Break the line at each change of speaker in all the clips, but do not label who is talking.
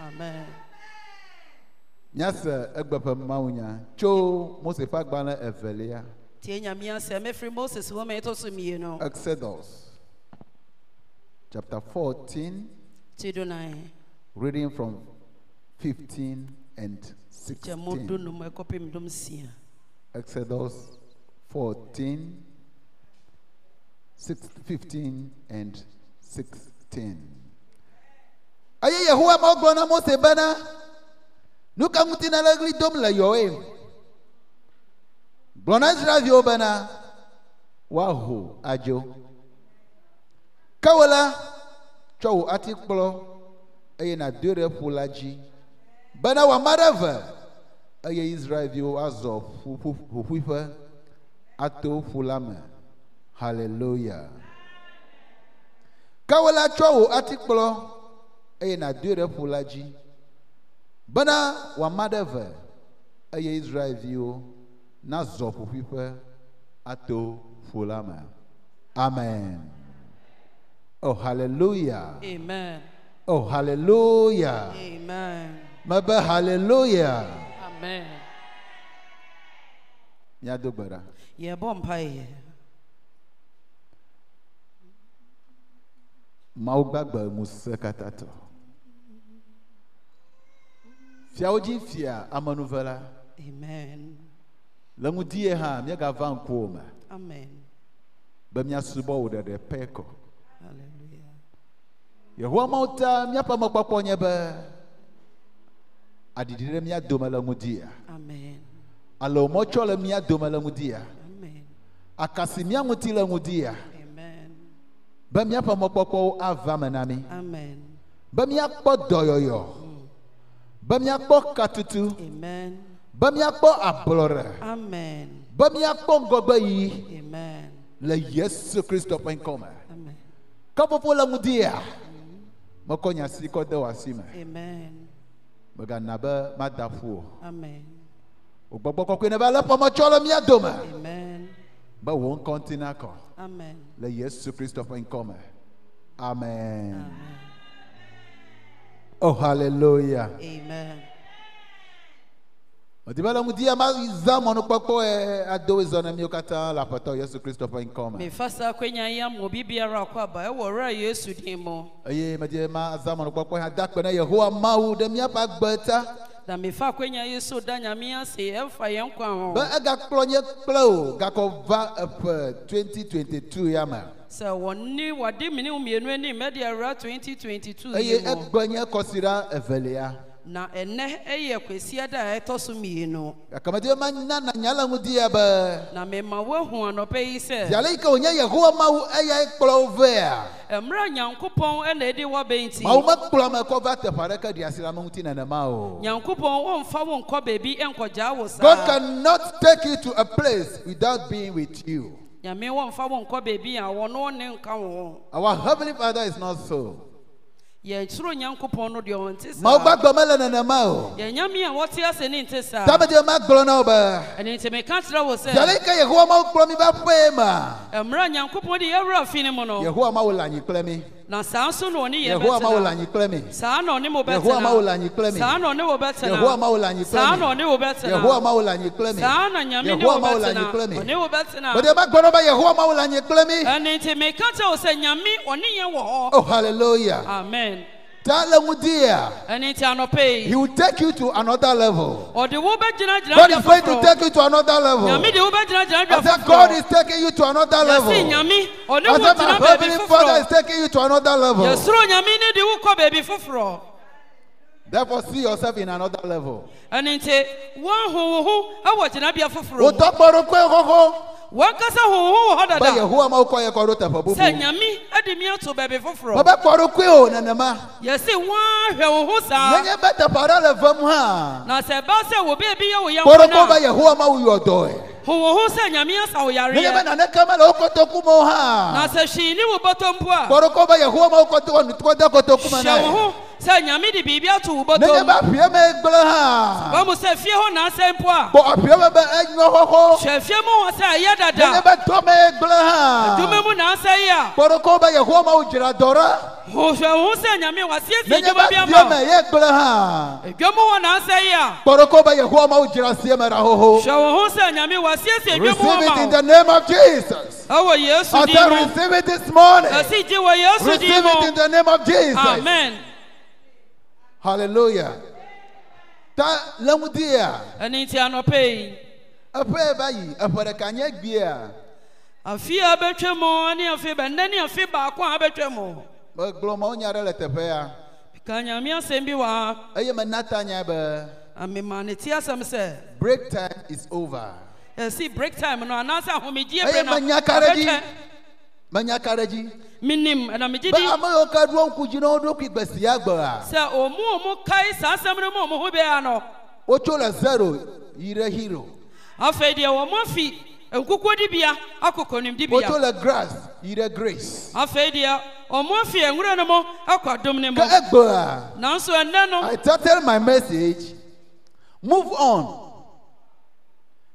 Amen.
nya se egbe ƒe mawu nya tso mose ƒe agbalẽ evelia
Tie nyame asɛm ɛfiri Moses home a ɛtɔ so mmienu
exodus chapter 14
ti do nan
reading from 15 and
kyɛ modo
16
nom ɛkɔpem dom sia.
exodus 14 six- 15 and 16 eye yehowa mawu gblɔ na mose bena nu ka ŋuti nele ɣli dom le yɔwoe gblɔ na israeviwo bena woaho adzo ke wo la tsɔ wò atikplɔ eye nàdoe ɖe ƒu la dzi bena wòama ɖe eve eye israeviwo azɔ ƒu- ƒu- ƒuƒuiƒe ato ƒu la me hallelujah ke wo la tsɔ wò atikplɔ eye nàdoe ɖe ƒu la dzi bena wòama ɖe eve eye israeviwo nazɔ ƒuƒuiƒe ato ƒu la me amen oh hallelujah
Amen.
oh hallelujah
Amen.
mebe hallelujah
Amen.
miado gbe ɖa
Yɛbɔ mpaeɛ.
mawu gbagbe ŋusẽ katã tɔ fiawo dzi fia amenuve la
Amen.
le ŋudie hã míegava ŋkuwo me
Amen.
be míasubɔ wò ɖeɖe pɛ kɔ
Hallelujah.
yehowa mawu ta míaƒe mekpɔkpɔ nye be aɖiɖi ɖe mía dome le ŋudia
Amen.
ale wò mɔtsɔ le mía dome le ŋudia
Amen.
akasi mía ŋuti le ŋudia
Amen.
be míaƒe mɔkpɔkpɔwo ava me na mí
Amen.
be míakpɔ dɔyɔyɔ be míakpɔ katutu
Amen.
be míakpɔ ablɔɖe
Amen.
be míakpɔ ŋgɔgbeyi
Amen.
le yesu kristu ƒe ŋkɔme
Amen.
kɔƒoƒo le ŋudia mekɔ nya si kɔ de wò asi me
Amen.
megana be mada ƒu o
Amen.
wò gbɔgbɔ kɔkɔe ne be ale ƒɔmetsɔ le mía dome
Amen.
be wò ŋkɔ ŋuti nakɔ
Amen.
le yesu kristu ƒe ŋkɔme amen o Oh, hallelujah
Amen.
medi be le ŋudia ma za mɔnukpɔkpɔ ɛ ado zɔ na miwo katã le aƒetɔ yesu kristu ƒe ŋkɔme
mefa saa akwanya yi ama obi biara akɔ aba ɛwɔ ɔwura yesu din mu
eye medi ma za mɔnukpɔkpɔ hã da akpe na yehowa mawu ɖe míaƒe agbe ta
na mefa akwanya yi so da nyame ase ɛmfa yɛn nkwa
be
ho
egakplɔ nye kple o gakɔ va eƒe 2022 ya me
sɛ wɔne wɔde mene wo mmienu anim ɛde awura 2022
eye
yi mu
egbe nye kɔsiɖa evelia
na ɛnɛ ɛyɛ kwasia da a ɛtɔ so mmienu
gakamedi ma nana nya le ŋudia be
na mema woahu anɔpɛ yi sɛ
yale yi ke wònye yehowa mawu eyae kplɔ wo vea
mmerɛ nyankopɔn ɛna ɛde wɔbɛ
mawu
nti
mekplɔ me kɔ va teƒe aɖeke ɖi asi le ame ŋuti nenema o
nyankopɔn wɔmfa wo nkɔ baabi ɛnkɔgyaa wo
God
saa
cannot take you to a place without being with you.
nyame wɔmfa wo nkɔ baabi a wɔne wo ne nka wo ho
Our heavenly Father is not so. Uh,
yɛnkyerɛ onyankopɔn no deɛ ɔnte
Mawu
saa
gbagbe mele nenema o.
yɛnyame a wɔte ase ne nte saa
Damedia magblɔ na wo be
ɛno nti meka kyerɛ wo
yale yi
sɛ
ke yehowa mawu kplɔ mi va ƒee ma.
mmerɛ nyankopɔn de yɛwura fi no mu no
yehowa mawo le anyi kple mi
na saa nso na ɔne yɛ
yehowa mawo le
bɛtena
anyi kple mi
saa na ɔne mo
yehowa mawo le
bɛtena
anyi kple mi
saa na ɔne
yehowa mawo
wo bɛtena
le anyi
saa
kple
na
mi
ɔne wo bɛtena
yehowa mawo le anyi kple mi
saa na nyame ne
Yehowa
wo
ma wo le anyikplɛ mi.
bɛtena ɔne wo
bɛdi
bɛtena
eba gbɔdɔ be yehowa mawo le anyi kple mi
ɛno nti meka kyerɛ wo sɛ nyame ɔne yɛ wɔ hɔ
oh hallelujah
amen
ta le ŋudi ya
ɛno nti anɔpɛ
he
yi
will take you to another level
ɔde wo bɛgyinagyina
God is
dwa
going to
foforɔ
take you to another
nyame
level
de wo bɛgyinagyina
I
dwa
said God
foforɔ
is taking you to another
yɛse
level
nyame
I
ɔne wo
said
gyina
my
baabi
heavenly Father is
foforɔ
taking you to another level
yɛsoro nyame ne de wo kɔ baabi foforɔ
therefore see yourself in another level
ɛno nti woaho wo ho ɛwɔ gyinabea foforɔ mu
wòtɔ kpɔɖokpe xoxo
wankasa ho wo ho wɔ hɔ
be
dada
yehowa mawo kɔ yɛ kɔ ɖo teƒe
sɛ
bubu.
nyame ade mi ato baabi foforɔ
mɔbɛ kpɔɖokui o nenema
yɛse woahwɛ wo ho saa
nenye be teƒe aɖe le vem hã
na sɛ ɛba sɛ wo baabi yɛ wo yɛnko
kpɔɖokui be
no a,
yehowa mawu yɔ dɔe
ho wo ho sɛ nyame asa wo
nenye be
yareɛ
naneke mele wo kotoku me o
na
hã
sɛ hwee ne wo bɔtɔ mpo a
kpɔɖokui be yehowa mawu kɔtɔ nukɔ de kotoku me na
hyɛ
ye
wo ho sɛ nyame de biribi ato wo
nenye
bɔtɔ
be
mu
aƒie me egblẽ hã
ba mo sɛ fie hɔ naasɛ mpo
kpɔ
a
aƒie me be enyɔ xoxo
hwɛ fie mu hɔ sɛ ɛyɛ
nenye
dada
be dɔ me egblẽ hã
dome mu naasɛ yi a
kpɔɖokui be yehowa mawu dzra dɔ ɖa
hohwɛ wo sɛ nyame wasiesie
nenye
dwuma
be
bi
asie me
ama
ye gblẽ hã
wo dwam wɔ nansɛ yi a
kpɔ ɖe ko be yehowa mawu dzra sie me ɖa xoxo
hwɛ wo ho sɛ nyame wasiesie dwam
receive
wɔ
it in
ma
the
wo
name of jesus
ɛwɔ yesu
i
din
say
mu
receive it this morning
ɛsi gye wɔ yesu din
receive it in
mu
the name of jesus
amen
hallelujah ta le ŋu di ya
ɛne nti anɔpɛ yi
eƒe ye va yi eƒe ɖeka nye gbia
afi a bɛtwa mu ne afe bɛnnɛ ne afe baako a bɛtwa mu
megblɔ mawo nya aɖe le teƒe ya
ka nyame asɛm bi wɔ ha
eye mena ta nya be
amema ne te asɛm sɛ
break time is over
ɛsi Eh, break time no anaasɛ ahomegyie
Ɛyɛ
berɛ no
manya ka ara di.
ɔbɛtwɛn.
menya ka ɖe dzi
menim ɛna megye
be
di
ame yiwo ke ɖoa ŋku dzi na wo ɖokui gbe sia gbea
sɛ ɔmu ɔmu kae saa asɛm no mu ɔmo ho bɛa no
wotso le zero yi ɖe hero
afei deɛ wɔn afi nkukuodibea akɔ
wotso
kɔnimdibea
le grass yi ɖe grace
afei deɛ wɔn afi nwura no mu akɔ adom ne mu
ke egbea
nanso ɛnɛ no
I titled my message, Move On.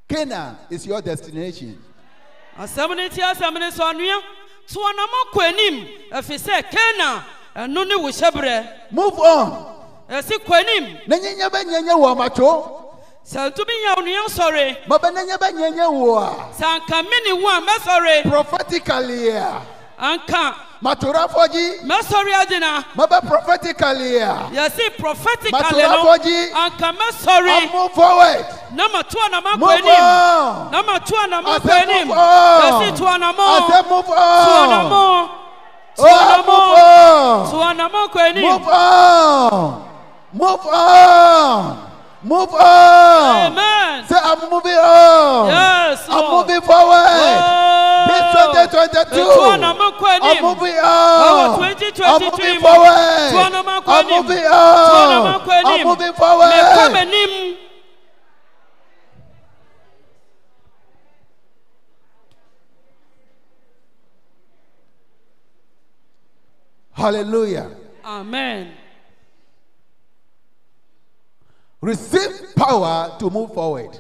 Canaan is your destination.
asɛm ne ti asɛm ne sɔ anua toɔ na mo kɔ anim ɛfi sɛ kena ɛno ne wo hyɛbrɛ
Move on.
ɛsi kɔ anim
Nenye nye be nye nye wo amacho.
sɛ ntumi nya onua sɔre
Mabe nenye be nye nye wo a.
sɛ anka me ne wo a mɛsɔre
Prophetically ya.
anka
Matura foji.
mɛsɔre agyina
Mabe prophetically ya.
yɛsi prophetically
Matura
no
foji.
anka mɛsɔre.
I move forward.
na matoa na makɔ
Move
anim
on.
na matoa na
I
makɔ
said
anim
move
yɛsi
on.
toa na
I
mo
said move
toa na
on.
mo toa na
Oh,
mo
move on.
toa na mo kɔ
Move
anim
on. Move on. Move on.
amen
Say, I'm moving on.
Yes,
I'm
Lord.
moving forward. This
Oh.
2022.
Toa na mo kɔ
I'm
anim
moving on.
Oh, 2022
I'm moving
mu.
forward.
Toa na mo kɔ
I'm
anim.
moving
Toa na mo
on.
kɔ
I'm
anim.
moving
mekɔ
forward.
m'anim
Hallelujah.
amen
Receive power to move forward.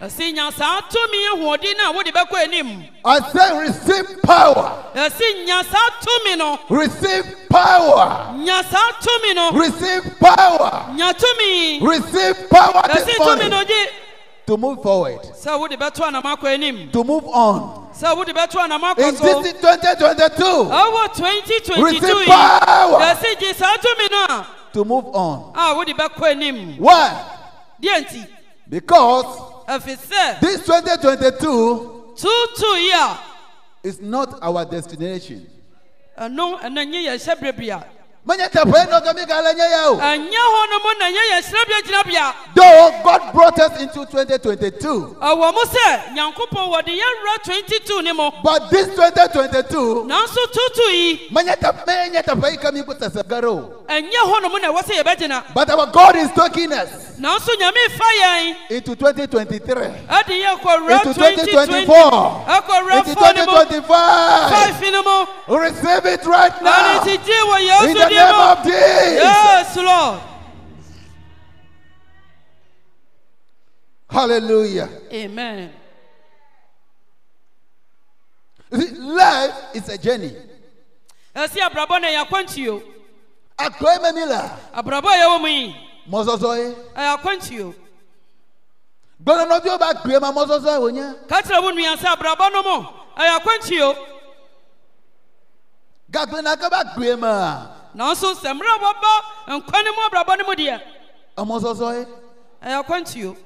yɛsi nya saa tumi ahoɔden no a wode bɛkɔ anim
I say, receive power.
yɛsi nya saa tumi no
Receive power.
nya saa tumi no
Receive power.
nya tumi
Receive power
yɛsi
this
tumi
morning
no gye
to move forward,
sɛ wode bɛtoa na makɔ anim
to move on.
sɛ wode bɛtoa na
In
makɔ so
this 2022,
ɛwɔ 2022
Receive
yi
power.
yɛsi gye saa tumi no a
to move on.
a wode bɛkɔ anim
Why?
deɛ nti
Because
ɛfi sɛ
this 2022
tutu yi a
is not our destination.
ɛno ɛna nye yɛn hyɛbrɛbea
Manye teƒe nɔ gemi gale nye ya o.
ɛnyɛ hɔ Uh, no mo na nye yɛn hyɛbrɛbea gyinabea
Though God brought us into 2022,
ɛwɔ Uh, mo sɛ nyankopɔn wɔde yɛn wura 22 ne mo
but this 2022,
nanso tutu yi
manye teƒe menye teƒe yi ke mi kpɔ sese ge ɖe o.
ɛnyɛ hɔ Uh, no mo na ɛwɔ sɛ yɛbɛgyina
But our God is taking us
nanso nyame fa yɛn
into 2023,
ɛde yɛn kɔ
into
wura 2020
2024,
ɛkɔ wura
into
4 ne mo
2025.
5 ne mo
Receive it right
ɛne
now
nti gye wɔ
Ah. in the
yesu
name
din mu
of Jesus.
Yes, Lord.
Hallelujah.
Amen.
You see, life is a journey.
Ɛsi abrabɔ na ɛyɛ akwantuo.
Akɔe mɛmi la.
Abrabɔ a yɛwɔ mu yi,
mɔzɔzɔ ye
ɛyɛ akwantuo.
gbɔdɔnɔviwo b'a gbe ma mɔzɔzɔ ye wonye
Ka kyerɛ wo nua sɛ abrabɔ no mu, ɛyɛ akwantuo.
gagbena ke b'a gbe ma
Nanso sɛ mmerɛ a wɔba nkwa no mu abrabɔ no mu deɛ,
emɔzɔzɔ ye
ɛyɛ akwantuo.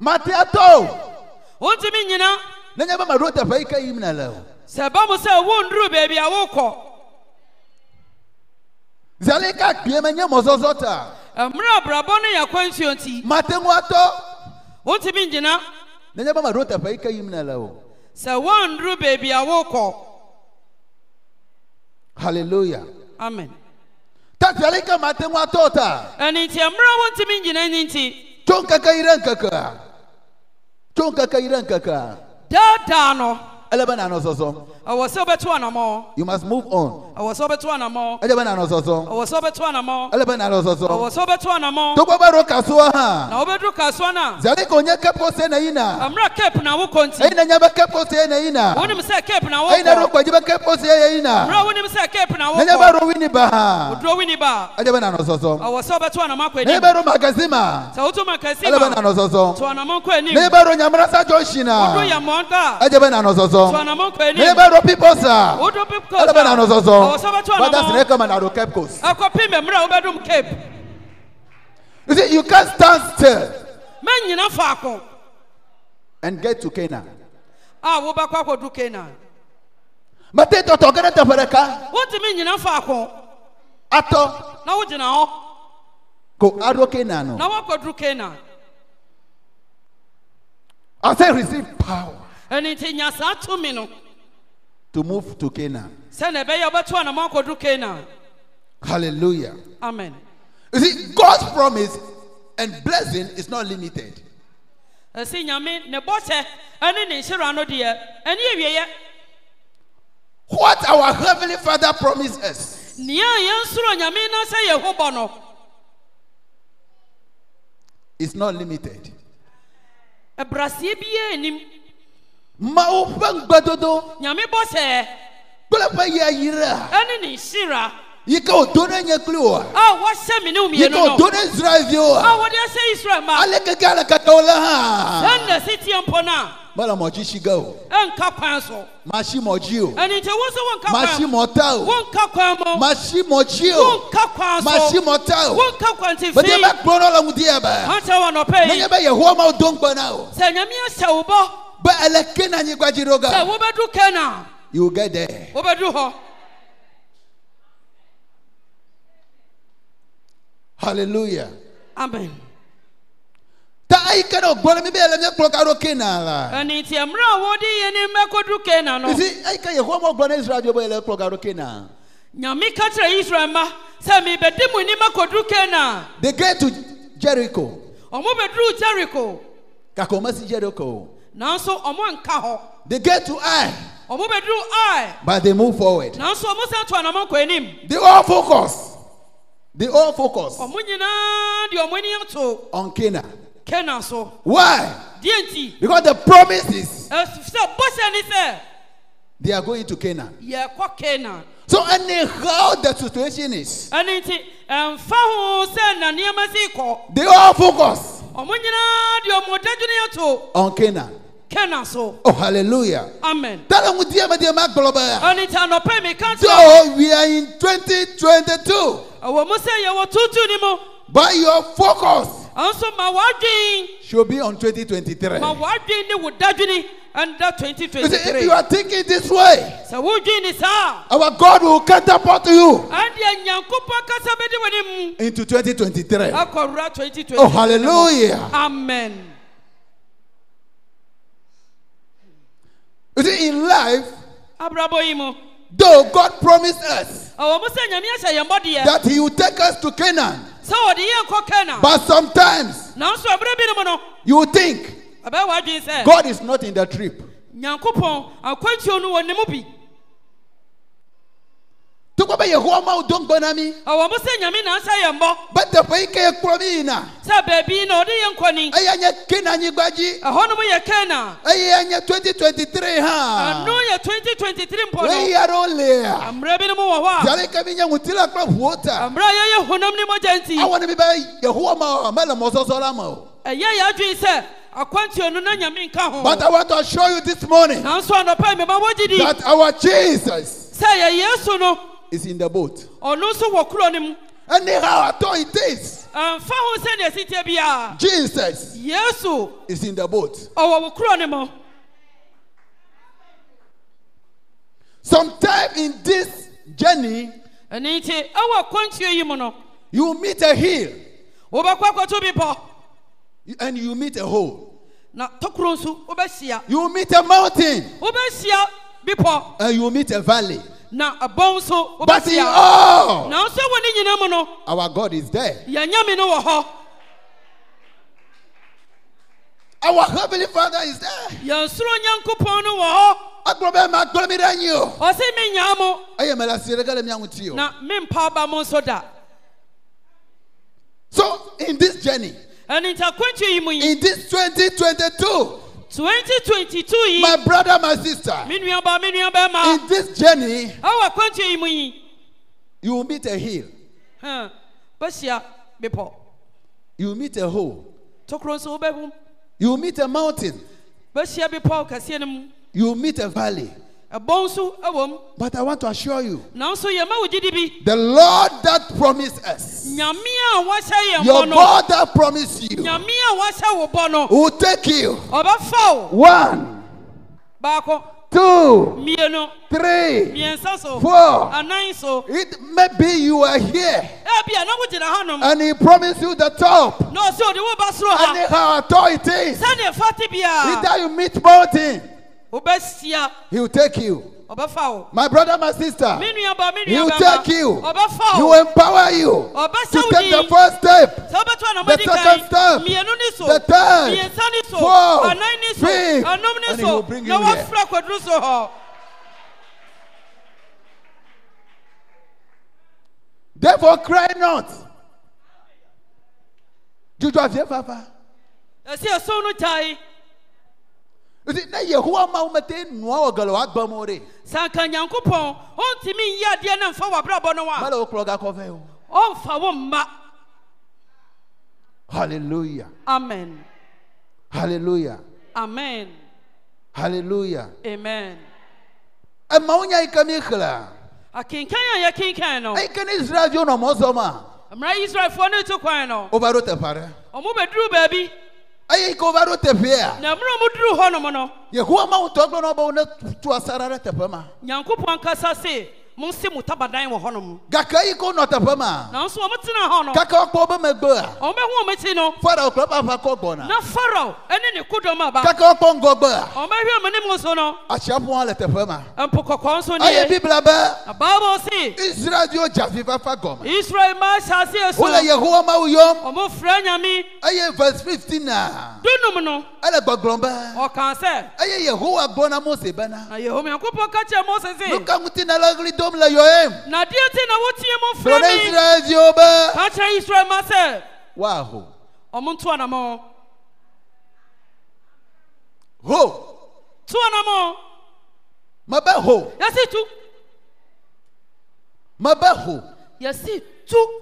matia tɔ
Wontumi nnyina.
o ne nye be ma ɖo teƒe yi ke yim ne le o
Sɛ ɛba mu sɛ wonduru baabi a wokɔ,
zali yi ka gbe me nye mɔzɔzɔ ta
mmerɛ a abrabɔ no yɛ akwantuo nti,
mate ŋu atɔ
wontumi nnyina.
ne nye be ma ɖo teƒe yi ke yim ne le o
Sɛ wonduru baabi a wokɔ.
hallelujah
Amen.
ta zali yi ke mate ŋu atɔ o ta
Ɛno nti, mmerɛ a wontumi nnyina no nti,
tso ŋkeke yi ɖe ŋkekea tso ŋkeke yi ɖe ŋkekea
daadaa no,
ele be nànɔ zɔzɔm
ɛwɔ sɛ wobɛto anammɔ
you must move on
ɛwɔ sɛ wobɛto anammɔ
ele be nànɔ zɔzɔm
ɛwɔ sɛ wobɛto anammɔ
ele be nànɔ
ɛwɔ
zɔzɔm
sɛ wobɛto anammɔ
togbɔ be ɖo kasoa hã
na wobɛduru kasoa no a
zali ko nye kepkose ne yina
ɛmmerɛ cape na wokɔ
eyi
nti
ne nye be kepkose ne yina
wonim sɛ cape na
eyi ne ɖo
wokɔ
kpedzi be kepkose ye yina
mmerɛ a wonim sɛ cape na
ne nye be
wokɔ
ɖo wini ba hã
woduro wini ba
ele be nànɔ
a
zɔzɔm
ɛwɔ sɛ wobɛto anammɔ akɔ
ne nye
anim
be ɖo magazin ma
sɛ woto makasi
ele be
ma
nànɔ
to
zɔzɔm
anammɔ nkɔ
ne nye
anim
be ɖo nyamrasa jɔnsi
woduro
na
yɛmmɔn da a
edze be nànɔ
to
zɔzɔm
anammɔ nkɔ
ne nye
anim
be ɖo piposa.
woduro pip kɔ
Alaba na
ɛwɔ sɛ
nozozo.
wobɛto
Brothers in
anammɔ
Ekoma na Rokepkos.
ɛkɔpi mmerɛ a wobɛdum cape
You see, you can't stand still
mɛnyina faako
and get to Canaan.
a wobɛkɔ akɔdu canaan
Mate tɔtɔ kɛnɛ tɛfɛ ɖeka
wotumi nyina faako
atɔ
na wogyina hɔ
ko aɖo Canaan
na
o.
woakɔduru canaan
I say receive power
ɛno nti nya saa tumi no
to move to Canaan.
sɛne ɛbɛyɛ wobɛto anama akɔduru canaan
Hallelujah.
amen
You see, God's promise and blessing is not limited.
ɛsi nyame ne bɔhyɛ ɛne ne nhyira no deɛ ɛne awieɛ
What our heavenly Father promised us,
nea a yɛnsoro nyame na sɛ yɛho bɔ no
is not limited.
ɛbraseɛ biaa nim
Mawu ƒe ŋugbedodo
nyame bɔhyɛ
kple eƒe yayira
ɛne ne nhyira
yi ke wòdo ɖe nye kpli wòa,
a wɔhyɛ me ne
yi ke
womienu
wòdo
no
ɖe Israeviwo
a
wòa,
wɔde ahyɛ israel ma
ale keke ale keke wòle hã.
ɛnna si tie mpo no a
mele mɔdzi si ge o
ɛnka kwan so
masi mɔdzi o
ɛne nti wo sɛ wonka
masi
kwan
mɔta o
wonka kwan mu
masi mɔdzi o
wonka kwan
masi
so
mɔta o
wonka kwan te
mete
fi
be kplɔ ɖe le ŋudi ya be
wankyɛ wɔ nɔpɛ yi
menye be yehowa ma wo do ŋgbe na o
sɛ nyame ahyɛ wo bɔ
be ele ke na anyigba dzi ɖo
sɛ
ga
wobɛdu kana
you get there
wobɛdu hɔ
hallelujah
amen
ta eyi ke ne o gbɔ ne mi be ele mie kplɔ ka ɖo ke na la
ɛne nti mmerɛ a wode yɛ ne mmɛkɔdu kana no
esi eyi ke yehowa ma wo gblɔ ne israel dio be ele kplɔ ka ɖo ke na
nyame ka kyerɛ israel ma sɛ mebɛdi mu ni makɔdu kana
they get to jericho
ɔmo bɛduruu jeriko
gake o me si jericho o
nanso ɔmo nka hɔ
they get to ai
ɔmo bɛduruu ai
but they move forward
nanso ɔmo san to anamɔ kɔ anim
they all focus they all focus
ɔmo nyinaa de ɔmo ani ato
on Canaan.
kana so
Why?
deɛ nti
Because the promises
ɛs- sɛ bɔhyɛ ne sɛ
they are going to Canaan.
yɛkɔ kana
So anyhow the situation is,
ɛne nti ɛmfa ho sɛ na nneɛma sii kɔ
they all focus
ɔmo nyinaa de ɔmo dadwene ato
on Canaan.
kana so
Oh hallelujah!
amen
Tell them dear my dear Mark Glover.
ɛne nti anɔpɛ mi ka kyerɛ
So we are in 2022.
ɛwɔ mu sɛ yɛwɔ tuntun ni mu
But your focus
ɛnso ma w'adwen
should be on 2023.
ma w'adwen ne wo dadwene ɛnda twenty
You
twenty
see, if
three
you are thinking this way,
sɛ wodwen ni saa
our God will catapult you
ɛdeɛ nyankopɔn kasa bɛdi wɔ ne mu
into 2023.
Ah. akɔwura twenty twenty
Oh hallelujah!
amen
You see, in life,
abrabɔ yi mu
though God promised us
ɛwɔ mu sɛ nyame ahyɛ yɛn bɔdeɛ
that He will take us to Canaan,
sɛ wɔde yɛn kɔ kana
But sometimes
nanso ɛberɛ bi no mu no
you think
ɛbɛyɛ w'adwen sɛ
God is not in the trip.
nyankopɔn akwantuo no wɔ ne mu bi
Tukwa be Yehowa ma udong bonami.
ɛwɔ mu sɛ nyame na ahyɛ yɛn bɔ
But the pay ke kromi na.
sɛ baabi na ɔde yɛn kɔ ni
Aya nye kina nyigbaji.
ɛhɔ nom yɛ kana
Aya nye 2023
ɛno
ha.
yɛ 2023 mpo
We
no
yaro lea.
mmerɛ bi no mu wɔ hɔ
Yale kami nye utila kwa
a
huota.
mmerɛ a yɛyɛ honam ne mogya nti
Awana mi ba Yehowa ma amela mozozo lama.
ɛyɛ yɛ adwen sɛ akwantuo no na nyame nka
But
ho
I want to assure you this morning
nanso anɔpa mema wɔgye di
that our Jesus
sɛ yɛ yesu no
is in the boat.
ɔno nso wɔ kuro no mu
Anyhow at all it is,
ɛmfa ho sɛdeɛ siteɛ biara
Jesus
yesu
is in the boat.
ɔwɔ wo kuro no mu
Sometime in this journey,
ɛne nti ɛwɔ akwantuo yi mu no
You meet a hill
wobɛkɔ akɔto bepɔ
and you meet a hole.
na tokuro nso wobɛhyia
You meet a mountain
wobɛhyia bepɔ
and you meet a valley.
na abɔn nso
But in
wobɛhyia
all,
nanso wɔ ne nyina mu no
our God is there.
yɛnyame no wɔ hɔ
Our Heavenly Father is there.
yɛn soro nyankopɔn no wɔ hɔ
agblɔ be magblɔ mi ɖe anyi o
ɔsi mi nya mo
eye mele asi ɖeke le mia ŋuti o
na mi mpa ba mo nso da
so in this journey
ɛni ntakuntu yi mu yi
in this twenty twenty two
twenty twenty two yi
my brother my sister
mi nua ba mi nua bɛ ma
in this journey
ɛwɔ akuntu yi mu yi
you will meet a hill
hɛn bɛsia bepɔ
you will meet a hole
tokuro nso bɛ hu
you will meet a mountain
bɛsia bepɔ kɛseɛ no mu
you will meet a valley
ɛbɔ nso ɛwɔ mu
but I want to assure you
nanso yɛn ma wo gidi bi
the Lord that promised us
nyamia a wɔhyɛ yɛn
your
bɔ no
God that promised you
nyamia a wɔhyɛ wo bɔ no
will take you
ɔbɛfa wo
one
baako
two
mmienu
three
mmiɛnsa so
four
anan so
it maybe you are here
ebi a na wogyina hanom
and he promised you the top
na ɔsɛ ɔde wo ba soro ha
anyhow at all it is
sɛdeɛ fa te bia
either you meet mountain
wobɛsia
he will take you
ɔbɛfa wo
my brother my sister
me nuaba me
he will
nuabɛma
take you
ɔbɛfa
he
wo
will empower you
ɔbɛsɛ
to
wo
take the
din
first step
sɛ wobɛtoa na
the
mɔdi
second
kan
step,
mmienu ni so
the third,
mmiɛnsa ni so
four,
anan ni so
three,
anum ni
and he
so
will bring
na
you here.
wɔafra kwaduru so hɔ
therefore cry not juju afie fafa
ɛsi ɛso no gyae
You see, na yehowa ma wo mete nua wɔ galo agbɔ mo de
sɛ anka nyankopɔn ɔntumi nyɛ adeɛ no mfa w'abrabɔ no ho
mala wo kplɔ gakɔfɛ o
a ɔmfa wo mma
hallelujah
amen
hallelujah
amen
hallelujah E
amen
ɛma wo nya yi ka mi xlẽa
akenkan a yɛkenkan no
eyi ke ne israelviwo nɔ mɔ zɔm a
mmara israelfoɔ no tu kwan no
wova ɖo teƒe aɖe
ɔmo bɛduru baabi
eyi ke wova ɖo teƒea
na mmerɛ a ɔmoduru hɔnom no
yehowa ma wo tɔ gblɔ na wo be ne tu asaɖa ɖe teƒe ma
nyankopɔn ankasa se monse mo tabadan wɔ hɔnom
gake eyi ke wonɔ teƒe ma
nanso ɔmotena hɔ no
kake wokpɔ wobe megbea
ɔmobɛhu ɔmɛkyi no
farao kple eƒe aʋakɔ gbɔna
na farao ne ne kodɔm aba
kake wokpɔ ŋgɔgbea
ɔmɛhwɛ mo ne mo so no
atsiaƒua le teƒe ma
mpo kɔkɔɔ nso
eye
nie
biblia be
na bible se
israelviwo dze avi fafa gɔme
israel ma hyɛ aseɛ so
wole yehowa mawu yɔm
ɔmofrɛ nyame
eye verse 15 na
dunum no
ele gbɔgblɔm be
ɔkaa sɛ
eye yehowa gbɔ na mose bena
na yehomi nyankopɔn ka kyerɛ mose se
nuka ŋuti na le ɣli dom le yɔyem
na deɛ nti na wotie mo
gblɔ
frɛ
na
me
israelviwo be
ka kyerɛ israel ma sɛ
woaho
ɔmo nto anamɔ
ho
to anamɔ
mebe ho
yɛsi tu
mebe ho
yɛsi tu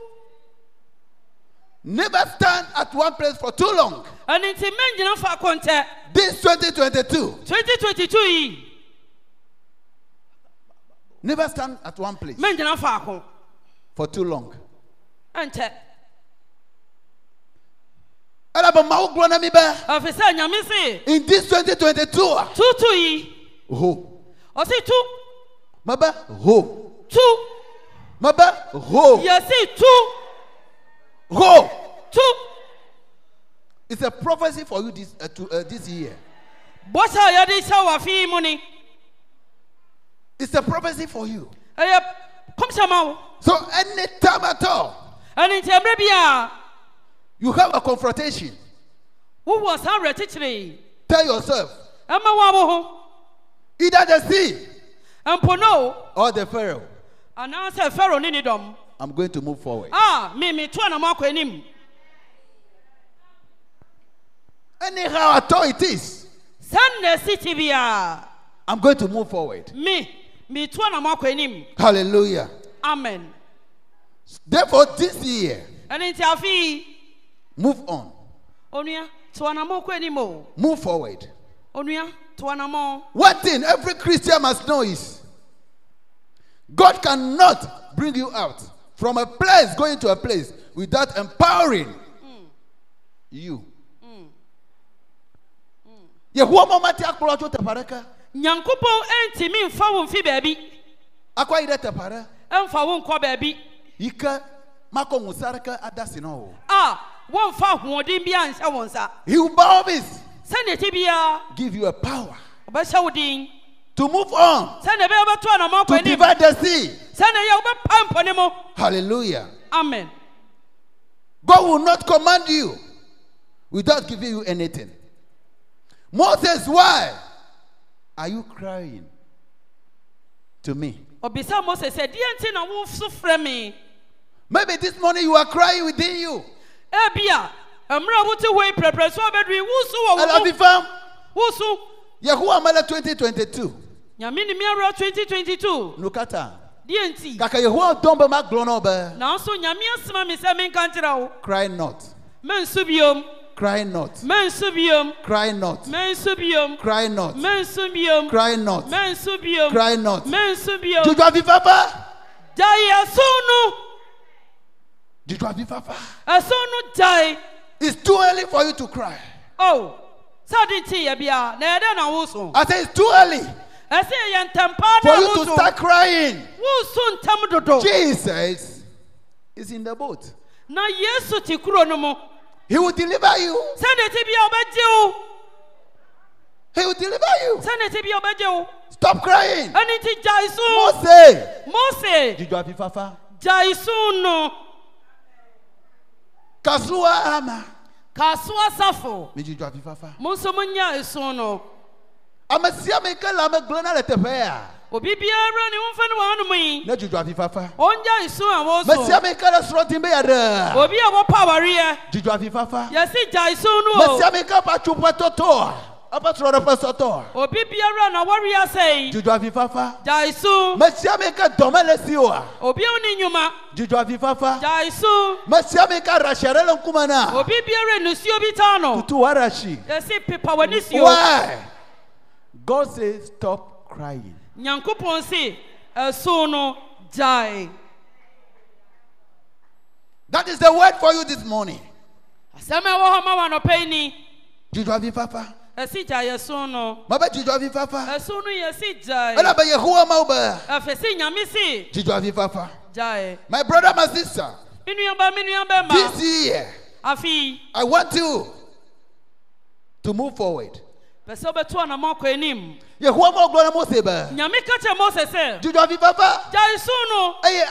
never stand at one place for too long
ɛni ti mɛ nyina fa kɔntɛ
this 2022
twenty twenty two yi
never stand at one place
mɛ nyina fa ko
for too long
ɛntɛ
elabe mawu gblɔ na mi be
ɛfisɛ nyame se
in this 2022 a,
tutu yi
ho
ɔsi tu
mebe ho
tu
mebe ho
yɛsi tu
ho
tu
it's a prophecy for you this uh, to, uh, this year
bɔsɛ a yɛde hyɛ wɔ afi yi mu ni
it's a prophecy for you
ɛyɛ kɔmsɛma wo
so anytime at all
ɛni ti ɛmɛ bi a
you have a confrontation
wowɔ san rɛ titiri
tell yourself
ɛmɛ wɔn abo ho
either the sea
mpono
or the pharaoh
anaasɛ fɛrɛ ne ne dɔm.
i'm going to move forward
a mi mi tó ànàmọ́ akọ ẹni
anyhow at all it is
sẹ́ńdẹ̀ sí ti bi a
i'm going to move forward
mi mi tó ànàmọ́ akọ ẹni
hallelujah
amen
therefore this year
ẹni tí a fi
move on
onua tó ànàmọ́ akọ ẹni mọ́
move forward
onua tó ànàmọ́
one thing every christian must know is god cannot bring you out from a place going to a place without empowering you yehowa ma ɔmate akplɔ tso teƒe aɖeke
nyankunpọ̀ ẹ̀ǹtì mi nfa wọn fi bẹ̀ẹ̀bi
akɔ ayi ɖe teƒe aɖe
ẹ̀ǹfa wọn nkọ bẹ̀ẹ̀bi
yi ke makɔ ŋusẽ aɖeke ada si na o
a wọn nfa ahoɔden bi anhyɛ wọn nsa
he will by all means
sẹ́ńdẹ̀ ti bi a
give you a power
ọbẹ̀ hyɛ wọn din
to move on
sẹ́ńdẹ̀ bẹ́ẹ̀ bẹ́ tó ànàmọ́ akọ
to
ẹni
divide the sea
sẹ́ńdẹ̀ yẹ ọbẹ̀ pa mpọ̀ ni mu
hallelujah
amen
God will not command you without giving you anything. Moses, why? Are you crying to me?
ɔbisa mose sɛ deɛ nti na woso frɛ me
Maybe this morning you are crying within you.
ebia mmerɛ a wote hɔ yi prɛprɛ so abɛduru yi wosu wɔ wo mu
Alafifam,
wosu
Yahuwah Mala 2022.
nyame ne meawerɛ 2022
Nukata.
deɛ nti
Kaka Yahuwah Domba Maglonoba.
nanso nyame asema me sɛ menka nkyerɛ wo
Cry not.
mensu biom
Cry not.
mensu biom
Cry not.
mensu biom
Cry not.
mensu biom
Cry not.
mensu biom
Cry not.
mensu biom
Jujua vifafa.
gyae ɛso no
Jujua vifafa.
ɛso no gyae
It's too early for you to cry.
o sɛ ade nteeɛ biara na ɛdɛ na woso
I say it's too early
ɛsɛ yɛyɛ ntɛmpaa
for
na
you to start
woso
crying.
woso ntɛm dodo
Jesus is in the boat.
na yesu te kuro no mu
He will deliver you.
sɛdeɛ ɛte bia ɔbɛgye wo
He will deliver you.
sɛdeɛ ɛte bia ɔbɛgye wo
Stop crying.
ɛne nti gyae so
Mose.
mose
Jijwa vifafa.
gyae so no
Kasua ama.
kaso asafo
Mi jijwa vifafa.
mo nso monyae so no
Ame sia me ke le ame gblẽ na le teƒe ya.
obi biara ne womfa ne wɔanom yi
Ne jijwa vifafa.
ɔngyae so a
Me sia
wɔso
me ke le srɔ̃ dim be ya ɖe.
obi a wɔpa awareɛ
Jijwa vifafa.
yɛse gyae so no
Me
o
sia me ke ƒe atsoƒe tɔtɔ. Eƒe srɔ̃ɖeƒe sɔtɔ.
obi biara na wɔre asɛe
Jijwa vifafa.
gyae so
Me sia me ke dɔ mele si oa.
obi a wone nnwuma
Jijwa vifafa.
gyae so
Me sia me ke ɖe asi aɖe le ŋkume na.
obi biara nnusuo bi taa no
Tutu wa ɖe asi.
yɛse pepa w'ani sio
Why? God say stop crying.
nyankopɔn se ɛso no gyae
That is the word for you this morning.
asɛm a ɛwɔ hɔ ma wɔ anɔpɛ yi ni
Jijwa vifafa.
ɛsi gyae so no
Mabe jijwa vifafa.
ɛso no yɛsi gyae
Elabe Yehowa mawo be.
ɛfɛ si nyame se
Jijwa vifafa.
gyae
My brother, my sister,
me nuaba me nuabɛma
this year,
afei
I want you to move forward.
pɛ sɛ wobɛto anama kɔ anim
Yehowa mo gbọ́dọ̀ mo ṣe bẹ́ẹ̀.
nyame ka kyerɛ mose sɛ
Jùjọ fi fẹ́fẹ́.
gyae so no
Eye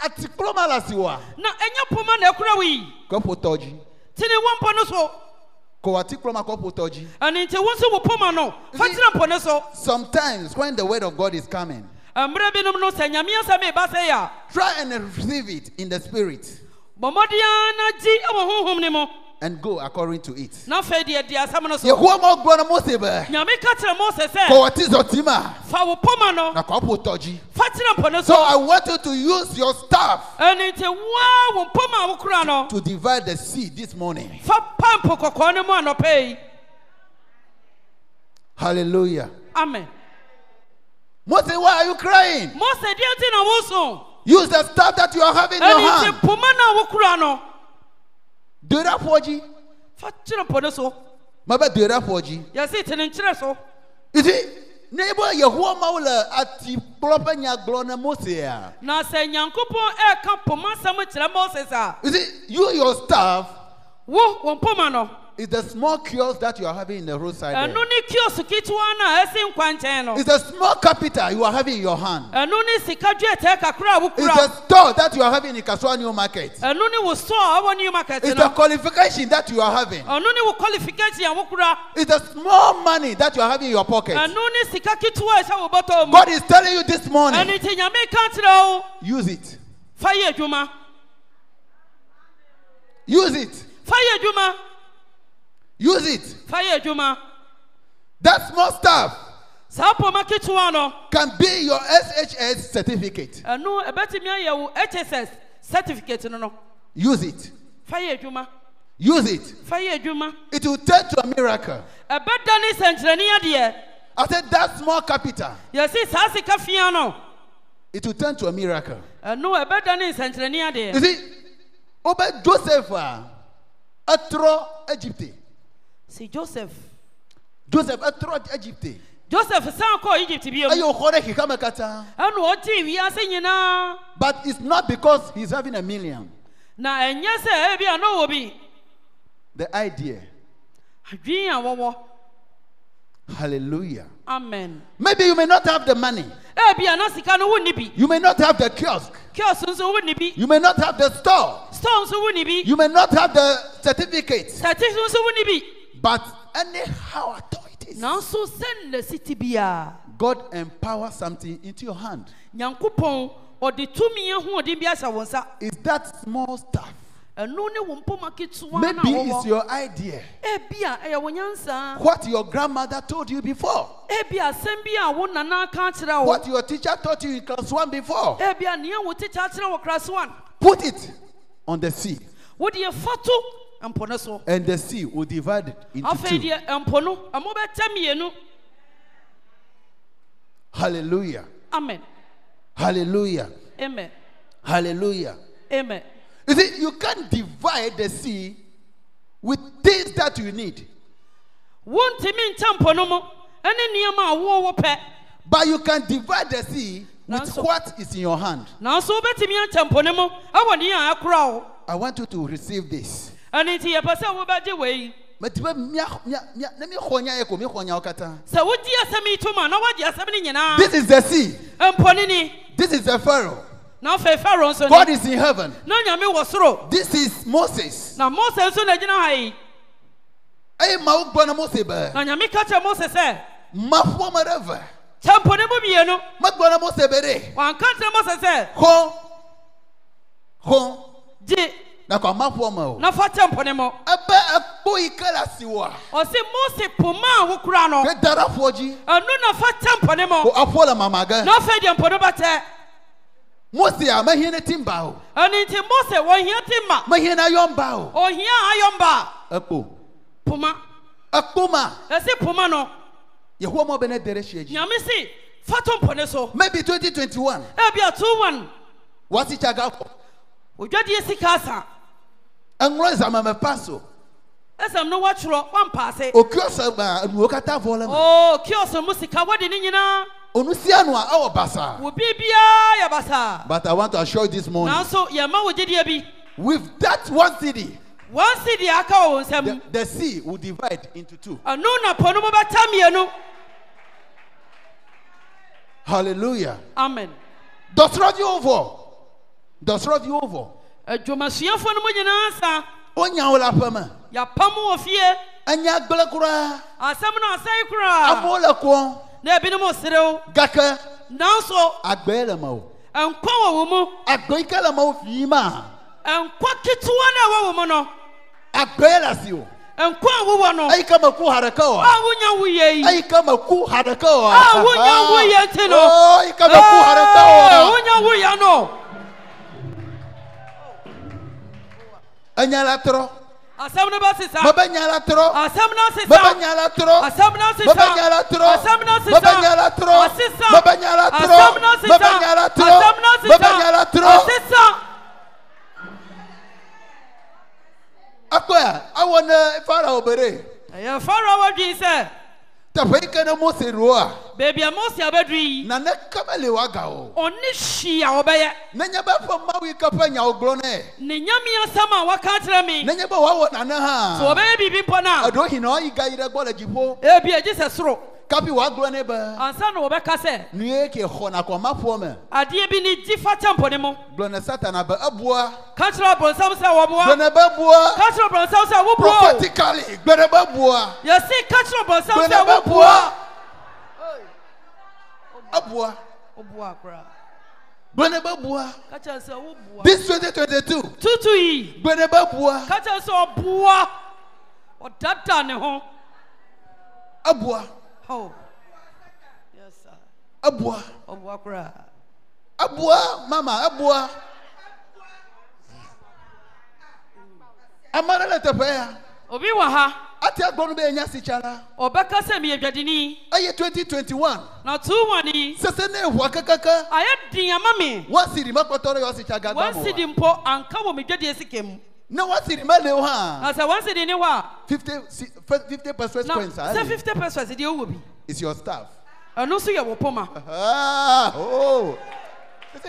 àti kúrò máa là sí wa.
na ɛnyɛ poma na ɛkora wo yi
Kọ́pù tọ́jú.
tene wo mpɔ no so
Kò wá tí kúrò máa kọ́pù tọ́jú.
ɛne nti wo nso wo poma no fa tena mpɔ no so
Sometimes when the word of God is coming,
mmerɛ binom no sɛ nyame asɛm ɛba sɛ yɛ a
try and receive it in the spirit
bɔ mmɔdea na gyi wɔ honhom ne mu
and go according to it.
na afei deɛ di asɛm no so
Yehowa mo gbọ́dọ̀ mo ṣe bẹ́ẹ̀.
nyame ka kyerɛ mose
Kò
sɛ
wá tí zọtí mà.
fa wo poma no
Na kọ́pù tọ́jú.
fa tena mpɔ no
So I
so
want you to use your staff
ɛne nti woa wo poma a wokora no
to divide the sea this morning.
fa pampo kɔkɔɔ no mu anɔpɛ yi
Hallelujah.
amen
Moses, why are you crying?
mose deɛ nti na woso
Use the staff that you are having in your
ɛne nti
hand.
poma no a wokora no
Derapoji.
fa kyerɛ mpɔ no so
Maba derapoji.
yɛse tene nkyerɛ so
You see, neighbor Yehowa Maula ati proper nyaglona Moses. ah.
na sɛ nyankopɔn ɛɛka poma sɛm kyerɛ moses a
You see, you your staff
wo wo poma no
is the small kiosk that you are having in the roadside.
ɛno
there.
ne kiosk ketewa no a ɛsi nkwankyɛn no
It's the small capital you are having in your hand.
ɛno ne sika dwetɛ kakra a
It's the
wokura
store that you are having in Kaswa New Market.
ɛno ne wo sɔ a ɛwɔ new market
It's the
no
qualification that you are having.
ɛno ne wo qualification a wokura
It's the small money that you are having in your pocket.
ɛno ne sika ketewa a ɛhyɛ wo bɔtɔ mu
God is telling you this morning,
ɛno nti nyame ka kyerɛ wo
use it.
fa yɛ adwuma
Use it.
fa yɛ adwuma
Use it.
fa yɛ adwuma
That small staff
saa poma ketewa no
can be your SHS certificate.
ɛno ɛbɛtumi ayɛ wo hss certificate no no
Use it.
fa yɛ adwuma
Use it.
fa yɛ adwuma
It will turn to a miracle.
ɛbɛda ne nsɛnkyerɛnne adeɛ
I said that small capital.
yɛsi saa sika fia no
It will turn to a miracle.
ɛno ɛbɛda ne nsɛnkyerɛnne adeɛ
You see, Obe Joseph, ah, Etro Egypte.
si joseph
Joseph Etro Egypte.
joseph san kɔ egypt bio
Ɛyɛ ɔkɔre keka mɛ kata.
ɛna ɔgye wiase nyinaa
But it's not because he's having a million.
na ɛnyɛ sɛ ebi a na ɔwɔ bi
The idea.
adwin a wɔwɔ
Hallelujah.
amen
Maybe you may not have the money.
ebi a na sika no wonni bi
You may not have the kiosk.
kios nso wonni bi
You may not have the store.
store nso wonni bi
You may not have the certificate,
sɛti nso wonni bi
but anyhow at all it is. is,
nanso sɛ na si te biara
God empowers something into your hand.
nyankopɔn ɔde tumi ahoɔden bi ahyɛ wo nsa
It's that small stuff.
ɛno ne wo mpoma ketewa na
Maybe it's
wɔwɔ
your idea.
ebia ɛyɛ wo nyansaa
What your grandmother told you before.
ebia asɛm bi a wo nana aka akyerɛ wo
What your teacher taught you in class one before.
ebia nea wo tete akyerɛ wɔ krase one
Put it on the sea,
wode yɛfa to mpo no so
and the sea will divide it
afei
into two.
deɛ mpo no ɛmo bɛtɛ mmienu
Hallelujah.
amen
Hallelujah.
amen
Hallelujah.
amen
You see, you can't divide the sea with things that you need,
wontumi nkyɛ mpo no mu ɛne nneɛma a wowɔ pɛ
but you can divide the sea with
Nanso-
what is in your hand.
nanso wobɛtumi akyɛ mpo no mu ɛwɔ nea akora wo
I want you to receive this.
ɛno nti yɛpɛ sɛ wobɛgye wei
Metiba mia- mia- mia- na mihɔnya yɛ ko, mihɔnya wo kata.
sɛ wogye asɛm yi to mu a na woagye asɛm no nyinaa
This is the sea.
mpo no ni
This is the Pharaoh.
na afei farao nso
God
ni
is in heaven.
na nyame wɔ soro
This is Moses.
na mose nso na gyina ha yi
Hey, ma wo gbɔ na Mose bɛ.
na nyame ka kyerɛ mose sɛ
Ma fɔ ma ɖe eve.
kyɛ mpo no mu mmienu
Ma gbɔ na Mose bɛ ɖe.
wanka kyerɛ mose sɛ
Xɔ. Xɔ.
gye
Na kɔ ma fɔ ma o.
na fa kyɛ mpo no mu
Ebe ekpo yi ke le asiwòa,
ɔse mose poma a wokura no
ke da ɖe afɔ dzi,
ɛno na fa kyɛ mpo no
ko
mu
afɔ le mama ge.
na afei deɛ mpo no bɛtɛ
Mose a mehiã ne tim ba o,
ɛno nti mose wɔhia te ma
mehiã ne ayɔm ba o.
ɔhia ayɔmba
Ekpo.
poma
Ekpo ma,
ɛse poma no
Yehowa mɔ be ne de ɖe esia dzi.
nyame se fa to mpo no so
Maybe 2021,
ebia to one
woasi tsa ga xɔ.
odwadeɛ sika asa
Eŋlɔ zãme me pa so.
ɛsɛm no woatwerɛ woampa ase
Okio se ma, enuwo katã vɔ le me.
oo kios mu sika wode ne nyinaa
Onu sia nua, ewɔ basaa.
wo biribiaa yɛ basaa
But I want to assure you this morning,
nanso yɛma wo gyedeɛ bi
with that one city,
wɔnsi deɛ aka wɔ wo
the,
nsɛm
the sea will divide into two.
ɛno na po no mu bɛta mmienu
Hallelujah.
amen
Dɔsrɔ̃ vi wo vɔ. Dɔsrɔ̃ vi wo vɔ.
adwumasuafoɔ no mu nyinaa sa
wonya wo le aƒe me
yɛapam wɔ fie
enya gblẽ kura
asɛm no asɛe koraa
amewo le kɔ
na ebinom serew
gake
nanso
agbe le me o
nkwa wɔ wo mu
agbe yi ke le me wo fii ma
nkwa ketewa no a ɛwɔ wo mu no
agbe ye le asi o
nkwa a wowɔ no
eyi ke me ku ha ɖeke
a
oa
wonya woyɛ yi
eyi ke me ku ha ɖeke oa
Ah, wonya wo ye Ah. ŋuti nɔ.
Oo, eyi ke me ku ha ɖeke
Ee,
oa
wonya woyɛ no
enya la trɔ
asɛm no bɛsesa
mebe nya la trɔ
asɛm no
mebe
asesa
nya la trɔ
asɛm no
mebe nya la
asesa
trɔ
asɛm no
mebe nya la trɔ
asesa
mebe nya la trɔ
asɛm no asesa
mebe nya la trɔ
asɛm no asesa
mebe nya la trɔ
asesa
akpɛ awɔ ne farao be ɖe
ɛyɛ farao wadwin sɛ
teƒe yi ke ne mose ɖoa
baabi a mose abɛduru yi
naneke mele woaga o
ɔne hwii a wɔbɛyɛ
nenye be eƒe mawu yi ke ƒe nyawo gblɔ nɛ
ne nyame asɛm a wɔka kyerɛ me sɛ
nenye be woawɔ nane hã
wɔbɛyɛ biribi mpo no a
eɖo hina yi gayi ɖe gbɔ le dziƒo
ebi agye sɛ soro
kapi woagblɔ nɛ be
ansa na wɔbɛka sɛ
nue ke xɔna kɔmaƒoa me
adeɛ bi ne gyi fa kyɛ mpo ne mu
gblɔ ne satana be eboa
ka kyerɛ aborɔnsam sɛ
gblɔ
wɔboa
ne be boa
Ah. ka kyerɛ aborɔnsam sɛ woboa
prophetically gblɔ ne be boa
yɛse ka kyerɛ aborɔnsam
gblɔ ne
sɛ
be
woboa
boa eboa
woboa koraa
gblɔ E ne be boa
ka kyerɛ sɛ woboa
this 2022
tutu yi
gblɔ ne be boa
ka kyerɛ sɛ ɔboa ɔdada ne ho
eboa
Oh. Yes, sir.
eboa
ɔboa koraa
eboa mama eboa ame aɖe le teƒe ya.
obi wɔ ha
ati agbɔnu bɛ enya si tsara
ɔbɛka sɛ meyɛ dwadini
eye twenty twenty one
na too wɔne
sese ne eʋua kekeke
ayɛ den ama me
wɔn siri ma kpɔtɔ ɖe yɔ si tsa gagba mo
wɔnsi di
wa
mpo anka wɔ me dwadeɛ sika mu
ne wɔn siri ma le o hã
na sɛ wɔnsi di ne hɔ a
fifty fifty percent
na
points ah
sɛ 50 percent deɛ wowɔ bi
is your staff
ɛno nso yɛ wo poma
ah oh isi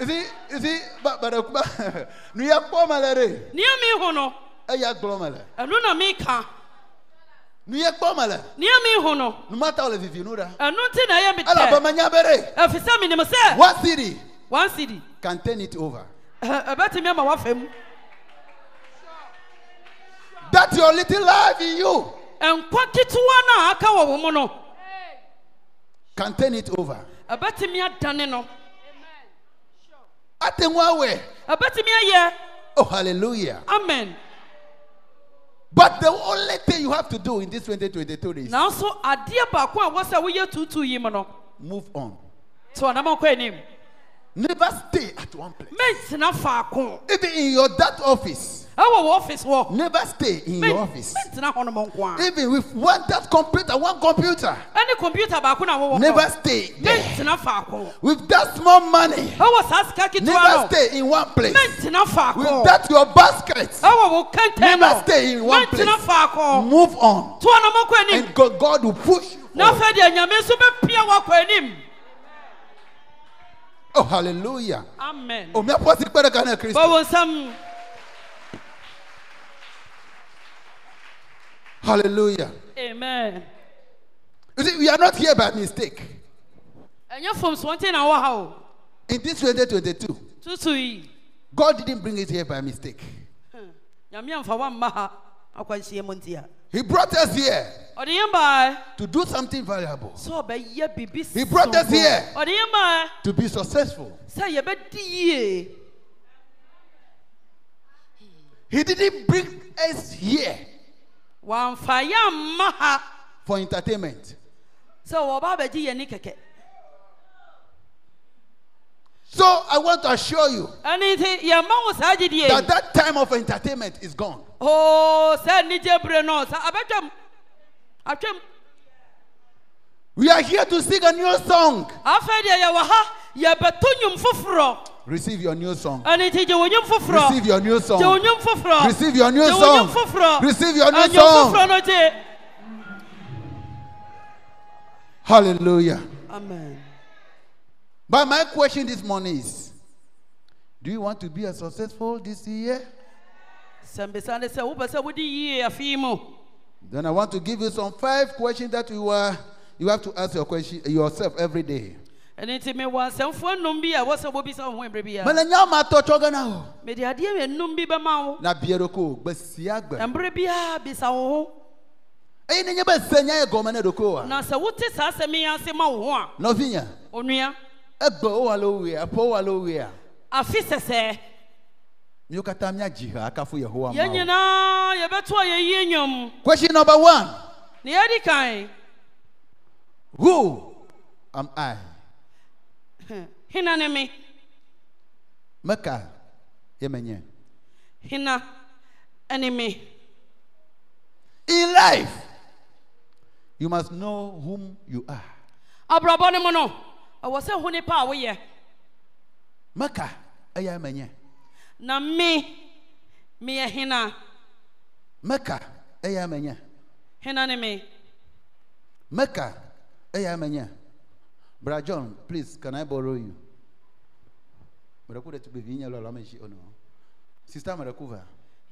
isi isi ba barakuba nu ya kpɔ ma lɛ de
nea mehu no
eya gblɔ ma lɛ
ɛno na meka
nu ya kpɔ ma lɛ
nea mehu no
numata wòle vivi nu ɖa
ɛno nti na ɛyɛ me
elabe
tɛ
me nya be de
ɛfiri sɛ menim sɛ
wɔn siri
wɔnsi di
can turn it over
ɛ- ɛbɛtumi ama woafa mu
that your little life in you.
nkwa ketewa no a aka wɔ wo mu no
can turn it over.
ɛbɛtumi adane no
Ate ŋu awɔe.
ɛbɛtumi ayɛ
Oh, hallelujah.
amen
But the only thing you have to do in this 2022 is
nanso adeɛ baako a wɔsɛ woyɛ tuutuu yi mu no
move on.
toa na mɔkɔ anim
Never stay at one place.
mentena faako
Even in your that office,
ɛwɔ wɔ office wɔ
never stay in
Men-
your office.
mentena hɔ no mɔ nko a
Even with one that computer, one computer,
ɛne kɔmputa baako na wɔwɔ
never
hɔ
stay there.
mentena faako
With that small money,
ɛwɔ saa sika ketewa
never
no
stay in one place.
mentena
With
faako
that your basket,
ɛwɔ wo kɛntɛn
Never stay in
no
one
mentena
place.
faako
move on.
toa na mɔkɔ anim
And God, God will push you.
na
forward.
afei deɛ nyame nso bɛpia wakɔ anim
Oh, hallelujah.
amen
Oh, me apostle, kpere kana Kristo.
bɔwɔ nsam
Hallelujah.
amen
You see, we are not here by mistake.
ɛnyɛ fom soɔnten na wɔ ha o
In this 2022,
tutu yi
God didn't bring it here by mistake.
hmm, nyame amfa wamma ha akwanhyia mu nti a
He brought us here
ɔde yɛn baɛ
to do something valuable,
sɛ ɔbɛyɛ biribi
He brought us
sononko.
here.
ɔde yɛn baɛ
to be successful.
sɛ yɛbɛdi yie
He didn't bring us here
wɔamfa yɛ amma ha
for entertainment.
sɛ wɔba abɛgye yɛn ni kɛkɛ
So I want to assure you
ɛne nti yɛmma wo saa
that
gyedie
that time of entertainment is gone.
oo sɛ anigye bere no sa abɛtwam atwam
We are here to sing a new song.
afei deɛ yɛwɔ ha yɛbɛto nnwom foforɔ
Receive your new song.
ɛne nti gye wo nnwom foforɔ
Receive your new
Gye wo
song.
nnwom foforɔ.
Receive your new
Gye wo nnwom
song.
foforɔ.
Receive your new
Ah, nnwom
song.
foforɔ no gye.
Hallelujah.
Amen.
But my question this morning is Do you want to be as successful this year?
Sɛ mbesa ne sɛ wopɛ sɛ wodi yie afe yi mu.
Then I want to give you some five questions that you are you have to ask your question yourself every day.
Ɛno nti mewɔ asɛmfoɔ nnum bi a ɛwɔ sɛ wobisa wo ho ɛberɛ biara.
Melenya matɔtɔ gana o.
Mede adeɛ mmiɛnum bi bɛma wo.
Na bieroko gbesia gbe.
Na mberɛ biara bisa wo ho.
Eyi nenye be senya ye gome ne doko a.
Na sɛ wote saa asɛm yi ase ma wo ho a,
Nɔvinya.
onua,
Egbe o walo we, apo walo we a.
afe sɛsɛɛ.
Mio kata mia jiha akafu Yehowa
Yɛn
ma. o.
nyinaa yɛbɛto a yɛyie nnwom.
Question number 1.
Na yɛdi kan,
Who am I?
hena ne me.
Meka yemenye.
Hena ɛne me.
In life, you must know whom you are.
abrabɔ no mu no ɛwɔ sɛ ho nipa a woyɛ
Maka eya menye.
na me meyɛ hena
Meka eya menye.
hena ne me
Meka eya menye. Brother John, please, can I borrow you? Mreku tu vinya lo lameshi ono. Sister Mrekuva.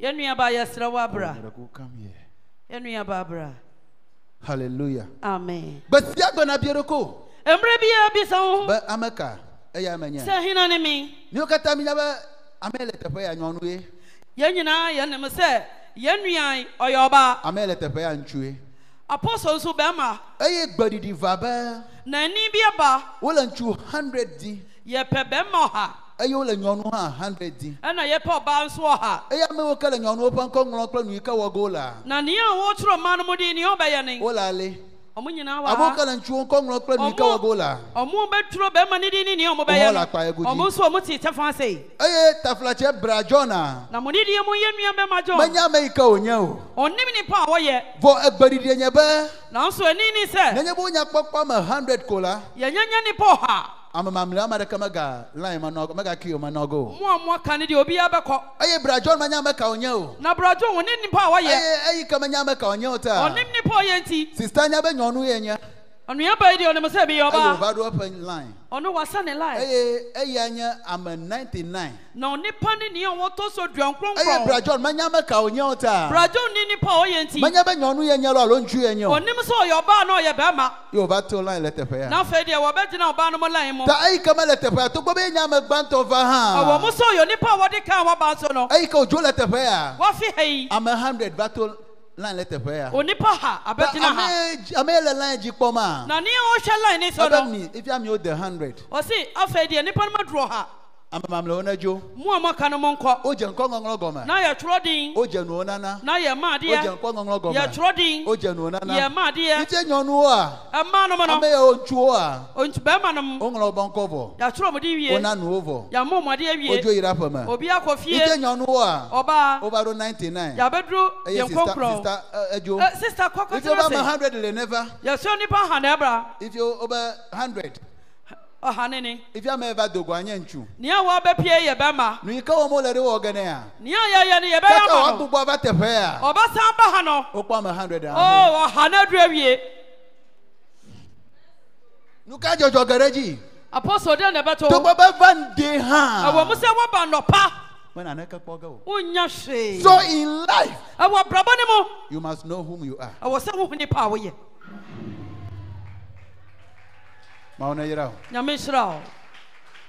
yɛ nuaba yɛserɛ wo abra
Mreku come here.
yɛ nuaba abra
Hallelujah.
amen
But ya gonna be roko.
mmerɛ biaa bisa wo ho
But ameka eya menye.
sɛ hena ne me
Ni okata mi nyaba amele tepe ya nyonu ye.
yɛn nyinaa yɛnem sɛ yɛn nua ɔyɛ ɔbaa
Amele tepe ya nchue.
apɔsɔ nso bɛrima
Eye gbadidi vaba.
na ani bi aba
Wole nchu 100 di.
yɛpɛ bɛrima ɔha
eye wole nyɔnu hã hundred di
ɛna yɛpɛ ɔbaa nso ɔha
eye amewo ke le nyɔnuwo ƒe ŋkɔ ŋlɔ kple nuyi ke wɔge wo la
na nea a wɔtwerɛ ma no mu de nea ɔbɛyɛ ne
wole ale
ɔmo nyinaa wɔ
amewo
ha
ke le ŋutsuwo ŋkɔ ŋlɔ kple nuyi ke wɔge wo la
ɔmo bɛtwerɛ bɛrima ne din ne nea ɔmo
Ɔmo
bɛyɛ
wɔ lakpa yɛ
no
gudi.
ɔmo nso ɔmo te kyɛfa sei
eye tafilatsɛ bra jɔna
na mo ne deɛ mu yɛ nua bɛma
menye
gyɔ
ame yi ke wònye o
ɔnim nipa a wɔyɛ
vɔ egbeɖiɖi nye be
nanso ani ne sɛ
nenye be wonya kpɔkpɔ me hundred ko la
yɛnyɛnyɛ nipa ɔha
ame mamlɛ ame aɖeke mega line ma nɔ mega ki o ma nɔ ge o
mo a mo aka ne deɛ obiara bɛkɔ
eye bra jɔna menye ame ka wònye o
na brado ɔne nipa a wɔyɛ
eye eyi ke menye ame ka wònye o ta
ɔnim nipa a ɔyɛ nti
sista nya be nyɔnu ye nye
ɔnua bɛyɛ deɛ ɔnim sɛ meyɛ
eye
ɔbaa
wòva ɖo eƒe line
ɔno wasa ne lae
eye eya nye ame ninety nine.
na onipa ne nea wɔtɔ so
eye
duankronkron
brajɔn menya me ka wonye o ta
brado ne nipa a ɔyɛ nti
menya be nyɔnu ye nye lo alo ŋutsu ye nye o
ɔnim sɛ ɔyɛ ɔbaa na ɔyɛ bɛrima
ye wova to line le teƒe ya
na afei deɛ wɔbɛgyina ɔbaa no mo lan mu
ta eyi ke mele teƒe ya togbɔ be ye nye ame gbãtɔ va
ɔwɔ
hã
mo sɛ ɔyɛ onipa a wɔde kaa wɔbaa so no
eyi ke wòdzo le teƒe ya
wɔafe ha yi
ame hundred va to line le teƒe ya.
onipa ha
Ta
abɛtena ha
ame dzi- ame yi le line dzi kpɔm a.
na nea ɔhwɛ line ne sɛ
ebe
no
mi efi ami wo de hundred.
ɔse afei deɛ nnipa no madorɔ ha
ame mamlɛwo ne dzo.
mu a mɔka no monkɔ
o dze ŋkɔ ŋɔŋlɔ gɔme.
na yɛtwerɛ din
o dze nuwo nana.
na
o dze
yɛmaadeɛ
ŋkɔ ŋɔŋlɔ gɔme.
yɛtwerɛ din
o dze nuwo nana.
yɛmaadeɛ
yitse nyɔnuwoa.
ɛma nom
ame
no
yawo ŋutsuwoa.
ɔntu- bɛrima nom
o ŋlɔ wobe ŋkɔ vɔ.
yɛatwerɛ mo de
o
wie
na nuwo vɔ.
yɛamɔ mɔde
o dzo
awie
yi ɖe aƒe me.
obi akɔ
yitse
fie
nyɔnuwoa. o
ɔbaa
va ɖo ninety nine.
yɛabɛduru
eye
yɛn
sista
kɔnkorɔ
sista ɛ, edzo.
Eh, sista
ife wobe ame
kɔkɔtena sɛ
hundred le ne va.
yɛsɛ nnipa ha na ɛbra
ife wobe hundred.
ɔhane ne
ife ame yi va do goa nye ŋutsu.
nea wɔabɛpie yɛ bɛrima
nuyi ke wɔm wole ɖe wɔ gene ya.
nea yɛyɛ no
kaka
yɛbɛyɛ ma no
woagbugbɔ va teƒe ya
ɔbɛsan ba ha no
wokpɔ ame hundred ame
Oh, ɔhane aduru awie
nuka dzɔdzɔ ge ɖe dzi
apɔsɔ deɛ na ɛbɛto
togbɔ be va de
ɛwɔ
hã
mu sɛ woaba nɔpa
me naneke kpɔ ge o
wonya hwee
so in life
ɛwɔ brabɔ ne mu
you must know whom you are
ɛwɔ sɛ wohu nipa a woyɛ
mawo ne yra o
nyame nhyira wo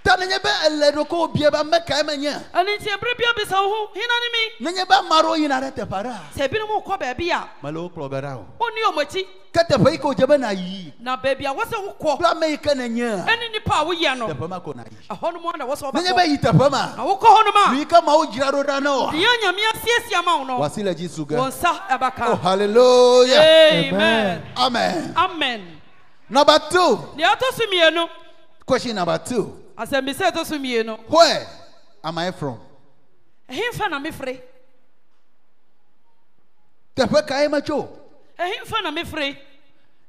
ta nenye be ele ɖoko bie be ame kae e menye
ɛno nti ɛberɛ bia bisa wo ho hena ne me
nenye be ame aɖewo yina ɖe teƒe aɖe a
sɛ ebinom wokɔ baabi a
mele wo kplɔ ge ɖa o
wonni ɔm akyi
ke teƒe yi ke wodze be nayi
na baabi a wɔ sɛ wokɔ
kple ame yi ke nenye
ɛne nipa a woyɛ no
teƒe ma ko nayi
ɛhɔ nom a na wɔ sɛ
nenye
wobɛkɔ
be yi teƒe ma
na wokɔ hɔ nom
nuyi ke mawo dzra ɖo ɖa ne
a
o
deɛ nyame asiesie ma wo no
wasi le dzi su ge
wɔ nsa
o
ɛbɛka
Oh, hallelujah
amen
amen
amen
number two.
deɛ ɛtɔ so mmienu
Question number two.
asɛmbisa a ɛtɔ so mmienu
Where am I from?
ɛhemfa na mefere
Teƒe kae metso?
ɛhemfa na mefere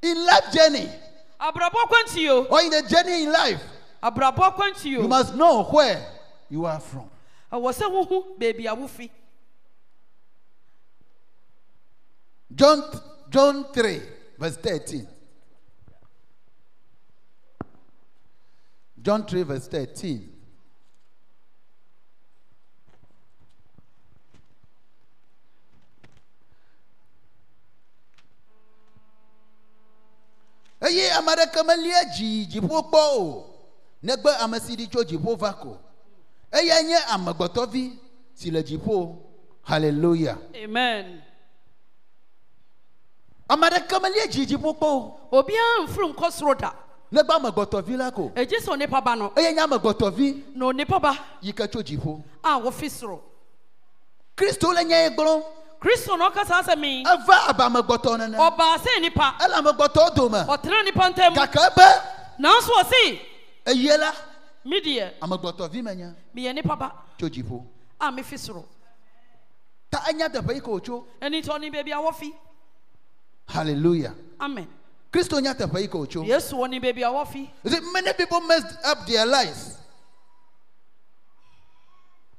e In life journey
abrabɔ kwantio
or in the journey in life,
abrabɔ
you
kwantio
must know where you are from.
ɛwɔ sɛ wohu baabi a wofi
John John 3, verse 13. John 3, verse 13. eye ame aɖeke melia dzi dziƒo kpɔ o negbe ame si ɖi tso dziƒo va ko eya nye amegbetɔvi si le dziƒo hallelujah
amen
ame aɖeke melia dzi dziƒo kpɔ o
obiara mfiri nkɔ soro da
negbe amegbetɔvi la ko
ɛgye sɛ onipa ba no
eye nye amegbetɔvi
na onipa ba
yi ke tso dziƒo
a wofi soro
kristu le nya ye gblɔm
kristo na ɔkasa sɛ me
eva abe amegbetɔ nene
ɔbaa sɛ nipa
ele amegbetɔ dome
ɔtena nipa ntam
gake ebe
nanso ɔse
eyie la
me deɛ
amegbetɔvi menye
meyɛ nipa ba
tso dziƒo
a mefi soro
ta enya teƒe yi ke wotso
ɛni nti ɔne baabi a wɔfi
hallelujah
amen
kristu nya teƒe yi ke wotso
yesu ɔne baabi a wɔfi
You see, many people messed up their lives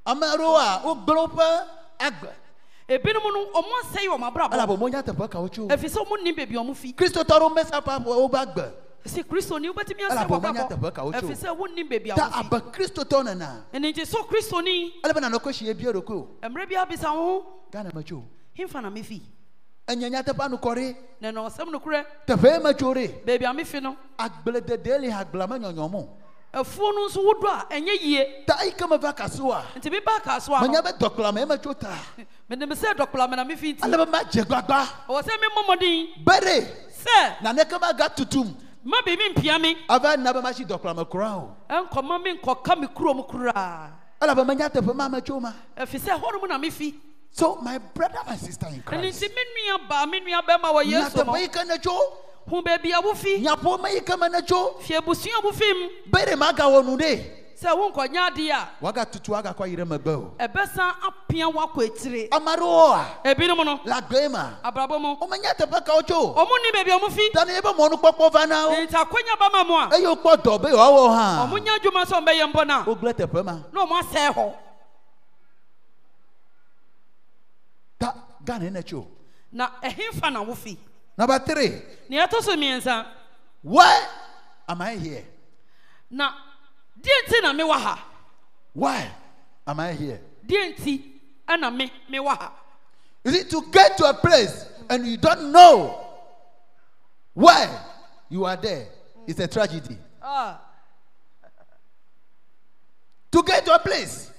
ame aɖewo a wogblɔ woƒe agbe
ebinom no ɔmo asɛe wɔn abrabɔ
elabe wonya teƒe ka wotso
ɛfiri sɛ ɔmo nim baabi a ɔmo fi
kristu tɔ ɖewo messed up woƒe agbe
sɛ kristo ni wobɛtumi asɛe
Ela
wɔ
bɔ ɔmanya teƒe ka wo
abrabɔ
tso.
ɛfiri sɛ wonim baabi a
ta
wofi
abe kristu tɔ nena
ɛni nti so kristo ni
alebe nanɔ kweshi ebie ɖokui o
mmerɛ bi abisa wo ho
ghana metso o
hemfa na mefi
enye nyateƒe anukɔ ɖe
na na ɔsɛm nokorɛ
teƒe metso ɖe
baabi a mefi no
agbledede li agblea me nyɔnyɔm o
afuo no nso wodɔ a ɛnyɛ yie
ta eyi ke me va kasoa
nti mebaa kaa so a
menye
no
be dɔkplɔame emetso ta
menim sɛ dɔkplame na mefi nti
alebe ma dze gbagba
ɔwɔ sɛ
be
memmɔmmɔden
ɖe
sɛ
naneke ma ga tutum
ma bi mempia me
ava na be ma si dɔkplɔame kura o
ɛnkɔma me nkɔka me kurom koraa
elabe menya teƒe ma metso ma
ɛfiri sɛ hɔnom na mefi
so my brother my sister in
ɛno
christ
nti me nua baa me nua bɛma wɔ
nya
yesu
teƒe yi
no
ke netso
hu baabi a wofi
nyaƒome yi ke me netso
fie abusua wo fim
be ɖe magawɔ nu ɖe
sɛ wonkɔnya adeɛ
wagatutu agakɔ yi ɖe megbe o
a ɛbɛsan apia woakɔ akyire
ame aɖewoa
ebinom no
le agbe ma
abrabɔ mu
womenya teƒe kawo tso o
ɔmo ni baabi a ɔmo fi
tani ebe mɔnukpɔkpɔ va na wo
nti akonya ba ma mu a
eye wokpɔ dɔ be yewoawɔ hã
ɔmonya adwuma sɛ ɔmbɛyɛ mbɔ no a
wogblẽ teƒe ma
na ɔmo asɛe hɔ
ta ghana ne tso
na ɛhemfa na wofi
number three
nea ɛtɔ so mmiɛnsa
why am i here
na deɛ nti na mewɔ ha
why am i here
deɛ nti ɛna me mewɔ ha
you see to get to a place and you don't know why you are there is a tragedy
Ah,
to get to a place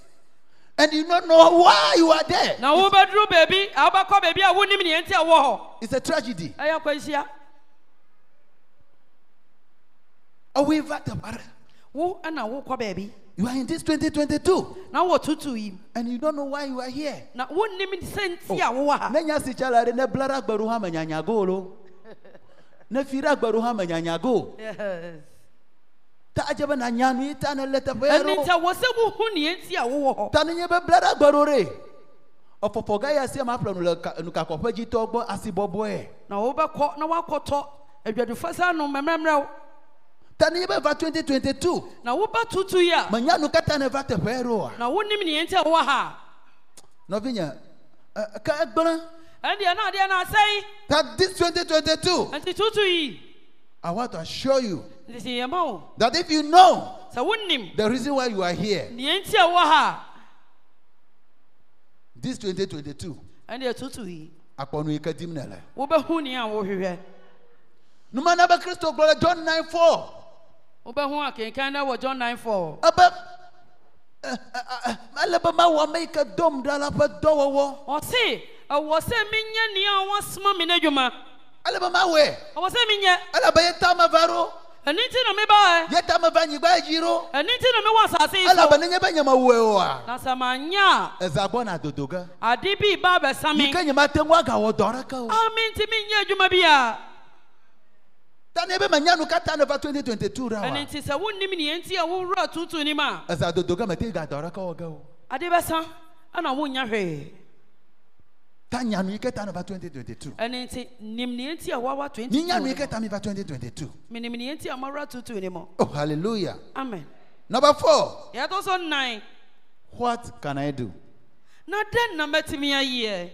and you don't know why you are there.
na wobɛduru baabi a wobɛkɔ baabi a wonim neɛ nti a ɛwɔ hɔ
It's a tragedy.
ɛyɛ akwanhyia
Away back the barrel.
wo ɛna wokɔ baabi
You are in this 2022
na wowɔ tutu yi mu.
and you don't know why you are here.
na wonim sɛ nti a wowɔ ha
Nenya sichala re ne blara agbaru ha manyanya go lo. Ne fira agbaru ha manyanya go.
Yes.
Ta ajaba na nyanu ita na leta
ɛno
pero.
nti a wɔ sɛ wohu neɛ nti a wowɔ hɔ
Ta ne nyebe blara agbaru re. Ọ̀pọ̀pọ̀ gáyà sí ẹ̀ma pẹ̀lú nùkàkọ̀pẹ́ jí tọ́ gbọ́ asibọ́bọ́ ẹ̀.
na wobɛkɔ na woakɔtɔ adwadufa sa no mmɛmrɛmrɛw
Tani yẹ bẹ va 2022.
na wobɛtutu yi a
Mẹ nyanu kata ne va teƒe ɛrɛ wa.
na wonim neɛ nti a wowɔ ha
Nɔvinya ɛ e, ka gblẽ.
a ɛndeɛ na adeɛ no asɛe
That this 2022,
nti tutu yi
I want to assure you
nti sɛ yɛma wo
that if you know
sɛ wonim
the reason why you are here,
neɛ nti a wowɔ ha
this 2022,
a ɛndeɛ tutu yi
akpɔnu yi kadim na la.
wobɛhu neɛ a wohwehwɛ
Numana bɛ Kristo gblɔ le John 9 4.
wobɛhu akenkan na wɔ john 94
Ebe eh, ele be mawu ame yi ke dom ɖa la ƒe dɔwɔwɔ.
ɔse ɛwɔ sɛ menyɛ nea wɔasoma me no adwuma
Ele be mawɔe.
ɔwɔ sɛ menyɛ
Ele be ye tame va ɖo.
ɛne nti na mebaɛ
Ye tame va anyigba dzi ɖo.
ɛne nti na mewɔ asase yi
Ele
so
be nenye be nye mewɔe oa.
na sɛ manyɛ
Eza gbɔna dodo ge.
a ade bi ba bɛsa me
Yi ke nye mate ŋu agawɔ dɔ aɖeke o.
a menti menyɛ adwuma bi a
Ta ne be menya nu katã ne va 2022 ɖa
ɛne
oa.
nti sɛ wonim neɛ nti a wowura tutu nim a
Eza dodo ge me te ga dɔ aɖeke wɔ ge o.
ade bɛsa ɛna wonya hwee
ta nyanu yi kẹta nọba twenty twenty two
ɛne nti nim neɛ nti a woawa
ni nyanu yi
22
kẹta mi ba twenty twenty two
menim neɛ nti a mawura tutu nim
oh hallelujah
amen
number four
yɛtɔ so nan
what can i do
na dɛn na mɛtumi ayɛ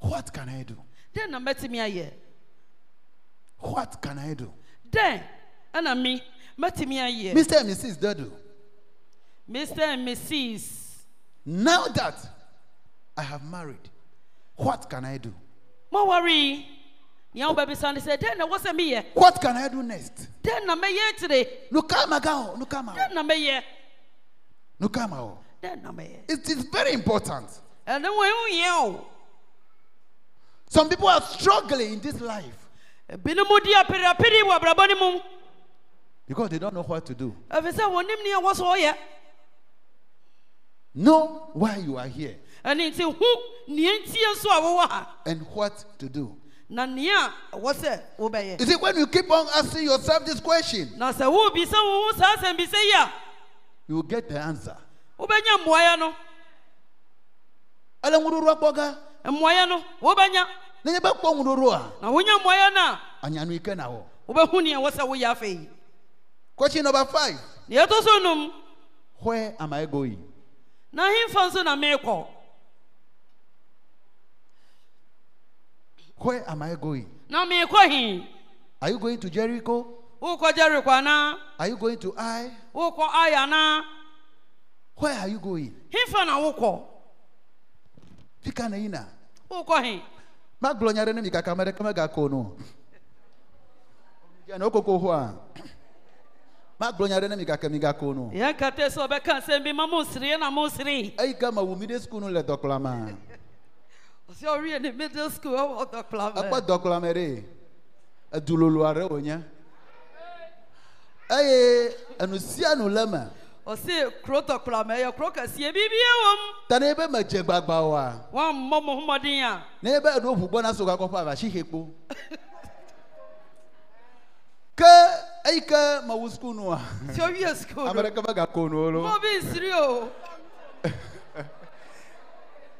what can i do
dɛn na mɛtumi ayɛ
what can i do
dɛn ɛna me mɛtumi ayɛ
mr and mrs dodo
mr and mrs
now that i have married what can i do
mɔwari nea wobɛbisa no sɛ dɛn na ɛwɔ sɛ meyɛ
what can i do next
dɛn na mɛyɛ akyire
nukama gawo nukama
dɛn na mɛyɛ
nukama o
dɛn na mɛyɛ
it is very important
ɛne wo ɛho hia o
some people are struggling in this life
ebinom di apirapiri wɔ abrabɔ ne mu
because they don't know what to do
ɛfisɛ wɔnim nea ɛwɔ so ɔyɛ
know why you are here
ɛne nti hu nea ntie so a wowɔ ha
and what to do
na nea ɛwɔ sɛ wobɛyɛ
you see when you keep on asking yourself this question
na sɛ worebisa wo ho saa asɛmbisa yi a
you will get the answer.
wobɛnya mmoayɛ no
Ale ŋuɖoɖoa gbɔ ge,
mmoayɛ no wobɛnya
nenye be kpɔ ŋuɖoɖoa,
na wonya mmoayɛ no a
anyanu yi ke na wɔ.
wobɛhu nea ɛwɔ sɛ woyɛ afei
Question number five,
nea ɛtɔ so num
where am I going?
na hemfa nso na merekɔ
Where am I going?
na merekɔ he
Are you going to Jericho?
wokɔ jeriko anaa
Are you going to Ai?
wokɔ aya anaa
Where are you going?
hemfa na wokɔ
Fika na yi na.
wokɔ he
Magblɔ nya ɖe ne mi kaka ame ɖeke megako o no. Dze ne wokoko hɔa. Magblɔ nya ɖe ne mi kaka mi gako o no.
yɛn kata sɛ ɔbɛka sɛm bi ma monsereɛ na monseree
Eyi ke mewu mi ɖe sukulu le dɔkplɔma.
ɔsɛ ɔreɛ ne middle school ɛwɔ
Ekpɔ
dɔkplabɛ
dɔkplɔame ɖe. Edu lolo aɖe wònye. Eye enu sia nu le me.
ɔse kuro dɔkplabɛ ɛyɛ kuro kɛseɛ bibia wom
ta ne be medze gbagba oa
woammɔ mo homɔden a
ne be eɖo ʋu gbɔna so gakɔ ƒe avasihɛ kpo ke eyi ke mewu suku nua
sɛ ɔwie school
ame
no
ɖeke megako nu o
ma
lo
obi nsiri o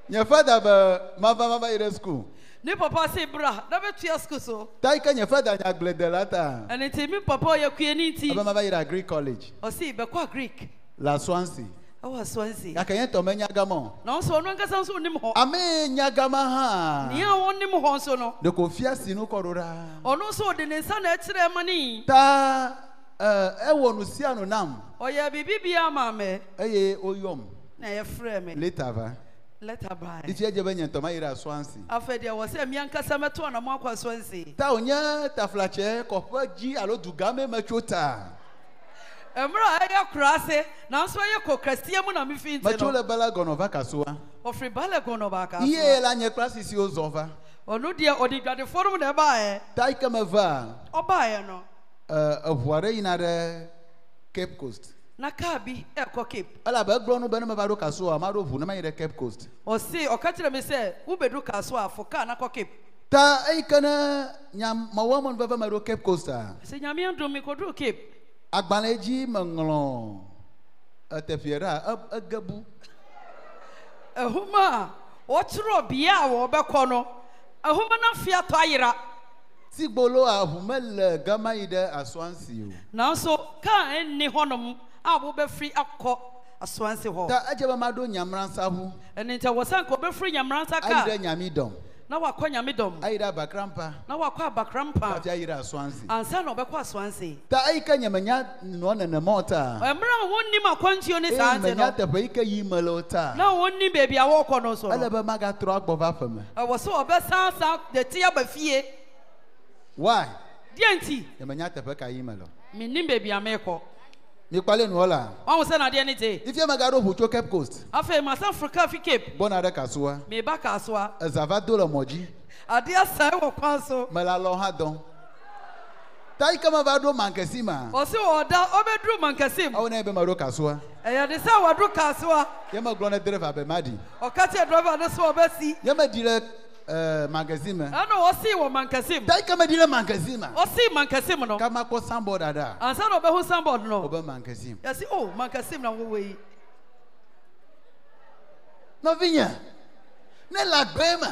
nye fada be mava mava yi ɖe suku
ne papa se bra na bɛtua school so
ta yi ke nye fada nye agbledela ta
ɛne nti me papa ɔyɛ kuani
ebe
nti
mava yi ɖe agri college
ɔse bɛkɔ greek
le swansea
ɛwɔ swansea
gake nye tɔ menya gama o
na ɔnso ɔno ankasa nso onim hɔ
ame yi nya gama
nea
hã
ɔnim hɔ nso no
ɖeko fia si nu kɔ ɖo ɖa
ɔno nso ɔde ne nsa na ɛkyerɛ ma ne yi
ta eh, ewɔ nu sia nu nam
ɔyɛ biribi biara ma mɛ
eye woyɔm
na ɛyɛfrɛ me
leta va
leta bae
ifi edze be nye tɔ ma yi ɖe swansea.
afei deɛ wɔ sɛ miankasa mɛto anamo akɔ asɔnse
ta wònye taflatse kɔƒe dzi alo dugame me tso ta
mmerɛ a ɛyɛ kora ase nanso ɛyɛ kɔ kɛseɛ mu na mefi
mɛ tso
nti no
le bala gɔnɔ va kasoa
ɔfiri bale ko no baaka
iye la nye kple asi si wo zɔ va
ɔno deɛ ɔde dwadefoɔ no mu na ɛbaeɛ
ta yi ke me va
ɔbaeɛ no
ɛ, eʋu aɖe yina ɖe cape coast
na kaa bi ɛkɔ cape
elabe egblɔ nu be ne me va ɖo kasoa ma ɖo ʋu ne ma yi ɖe cape coast
ɔse ɔka kyerɛ me sɛ wobɛdu kaa so a fo kaa na kɔ cape
ta eyi ke ne nya mewɔ me nu veve me ɖo cape coasta
sɛ nyameɛ dom mekɔduru cape
agbalẽ dzi meŋlɔ eteƒe ɖa e- ege bu
ahoma a wɔkyerɛ bea a wɔbɛkɔ no ahoma no afei atɔ ayera
sigboloa ʋu mele gama yi ɖe asɔansi o
nanso kaa ɛnni hɔnom a wobɛfiri akɔ asoanse hɔ
ta edze be ma ɖo nyamransa ʋu
ɛne nti wɔ sanka wobɛfiri nyamransa
ayi
kaa
ɖe nyami dɔm
na wakɔ nyame dɔm
ayi ɖe abakrampa
na wakɔ abakra mpa
hafi ayi ɖe asɔansi
ansa na ɔbɛkɔ asoanse
ta eyi ke nye menya nɔ nenema o ta
mmerɛ a wonnim akwantuo ne saa
eye
nti
menya
no
teƒe yi ke yi me le o ta
na wonnim baabi a wɔrekɔ no so
ele
no
be magatrɔ agbɔ va ƒeme
ɛwɔ sɛ ɔbɛsan san dɛte aba fie
why
deɛ nti
nye menya teƒe ka yi me le o.
mennim baabi a merekɔ
mikpali nuwɔ la
ɔho sɛ nadeɛ ne te
ifie megaɖo ʋu tso cape coast
afei masan foro kaa fi cape
gbɔna ɖe kasoa
meba kaa so a
eza va do le mɔ dzi
adeɛ sae wɔ kwan so
mele alɔ hã dɔm ta yi ke me va ɖo mankesi ma
ɔse ɔda ɔbɛduru mankasem
awo ne be meɖo kasoa
ɛyɛ de sɛ wɔdo kaa so a
ye megblɔ ne dreva be ma ɖi
ɔka kyerɛ drɔba no sɛ ɔbɛsi
ye meɖi le ɛɛ mankesi me
ɛna ɔsii wɔ mankasem
ta yi ke meɖi le mankesi ma
ɔsii mankasem no
ka makpɔ sanbɔ ɖaɖa
ansa na ɔbɛhu sanbɔd
o
no
be mankesi
yɛse o mankasem na wowɔ yi
nɔvinya ne le agbe me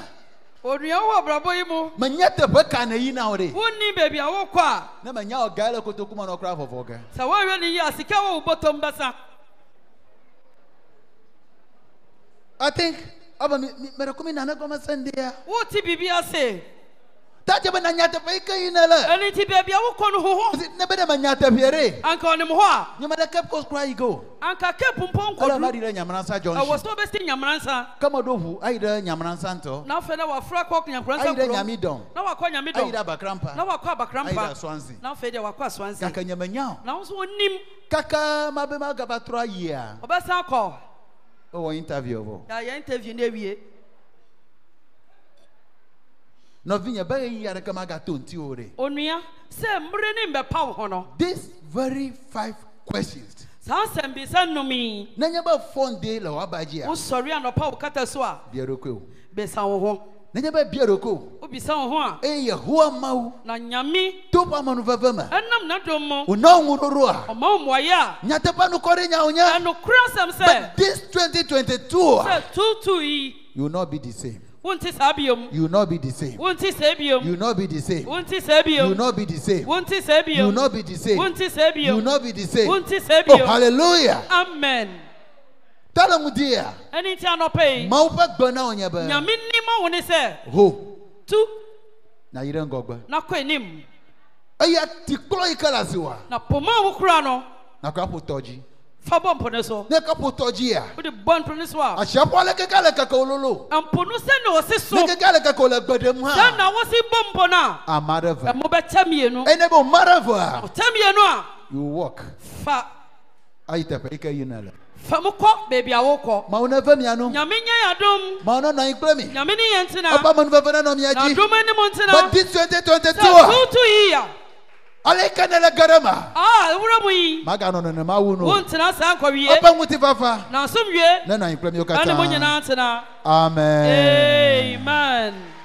onua wɔ brabɔ yi mu
menye teƒe ka ne yina o ɖe
wonni baabi a wokɔ a
ne menya o ga ele kotoku me nɔ kura vɔvɔ ge
sɛ woawɛ ne yi a sika wɔ wo bɔtɔm bɛsa
i think ɔbɛ mi mi meɖe ko mi nane gɔme sɛndeya
wote biribi ase
ta dze be nanya teƒe yi ke yina le
ɛno nti baabi a wokɔ no hoho
Esi ne be ne menya teƒea ɖe
anka ɔnem hɔ a
nye me ɖe cape coast kura yi ge o
anka cape mpo
ele ma
nkɔduru
ɖi ɖe nyamransa
ɛwɔ
jɔnsi
sɛ wobɛsi nyamransa
ke me ɖo ʋu ayi ɖe nyamransa ntɔ
na afei na wɔafra kɔ nyankoransa
ayi ɖe
kurom
nyami dɔm
na wakɔ
ayi
nyame
ɖe
dɔm na
abakrampa
wakɔ abakra
ayi ɖe
mpa
asɔansi
na afei deɛ wakɔ asonse
gake nye menya o
na wo nso wonim
kaka ma be ma gaba trɔ ayia
ɔbɛsan kɔ
ewɔ interview vɔ
yɛ yɛ interview no awie
nɔvinya be ɣeyiɣi aɖeke ma gato ŋuti o ɖe
onua sɛ mmere ne mbɛpa wo ho no
these very five questions
saa nsɛm bisa nomii
nenye be fɔn de le woaba dzia
wosɔre anɔpa wo kata so a
bia ɖokui o
bɛsa wo ho
nenye be bia ɖokui o
wobisa wo ho a
eye yehowa mawu
na nyame
to ƒe amenuveve me
ɛnam n'adom mu
wòna wo ŋuɖoɖoa
ɔma wo mmuaeɛ
nyateƒe nukɔ ɖe nyawo
a
nya
ɛnokora asɛm
but
sɛ
this 2022 ah,
sɛ tuutuu yi
you will not be the same
wonte saa biom
you will not be the same
wonte saa
you
biom
will not be the same
wonte saa
you will
biom
not be the same
wonte saa
you will
biom
not be the same
wonte saa
you will
biom
not be the same
wonte saa
oh
biom
hallelujah
amen
tala ŋu di ya
ɛne nti anɔpa yi
mawu ƒe gbe na wo nye be
nyame nim awo ne sɛ
ho
tu
na yi ɖe ŋgɔgbe
na kɔ anim
eya ti kplɔ yi ke le asiwa
na poma a wokura no
nakɔ aƒo tɔ dzi
fa bɔ mpo no so
ne ke ƒo tɔ dzi ya
wode bɔ mpo no so a
asiaƒo aleke ke le keke wo lolo
mpo no sɛne ɔse so
leke ke le keke wo le gbe ɖem
sɛ
hã
na wose bɔ mpo no a
ame aɖe ve
ɛmo bɛkyɛ mmienu
eye ne be ome aɖe vea
ɔkyɛ mmienu a
you walk
fa
ayi teƒe yi ke yina le
fa mo kɔ baabi a wokɔ
mawu ne ve mia nu
nyame nyɛ yɛ adom
mawu ne nɔ anyi kple mi
nyame ne
eƒe
yɛ ntena
amenuveve ne nɔ mia
na
dzi
adom anim
but
ntena
this 2022
sɛ tutu yiya
aleke ne le ge ɖe ma
a ɛwura mu yi
maganɔ nenema wu nu o.
wontena saa nkɔwie
eƒe ŋutifafa
na asomwie
ne nɔ anyi kple mi wo
ɛne mo
katã
nyinaa tena
amen.
amen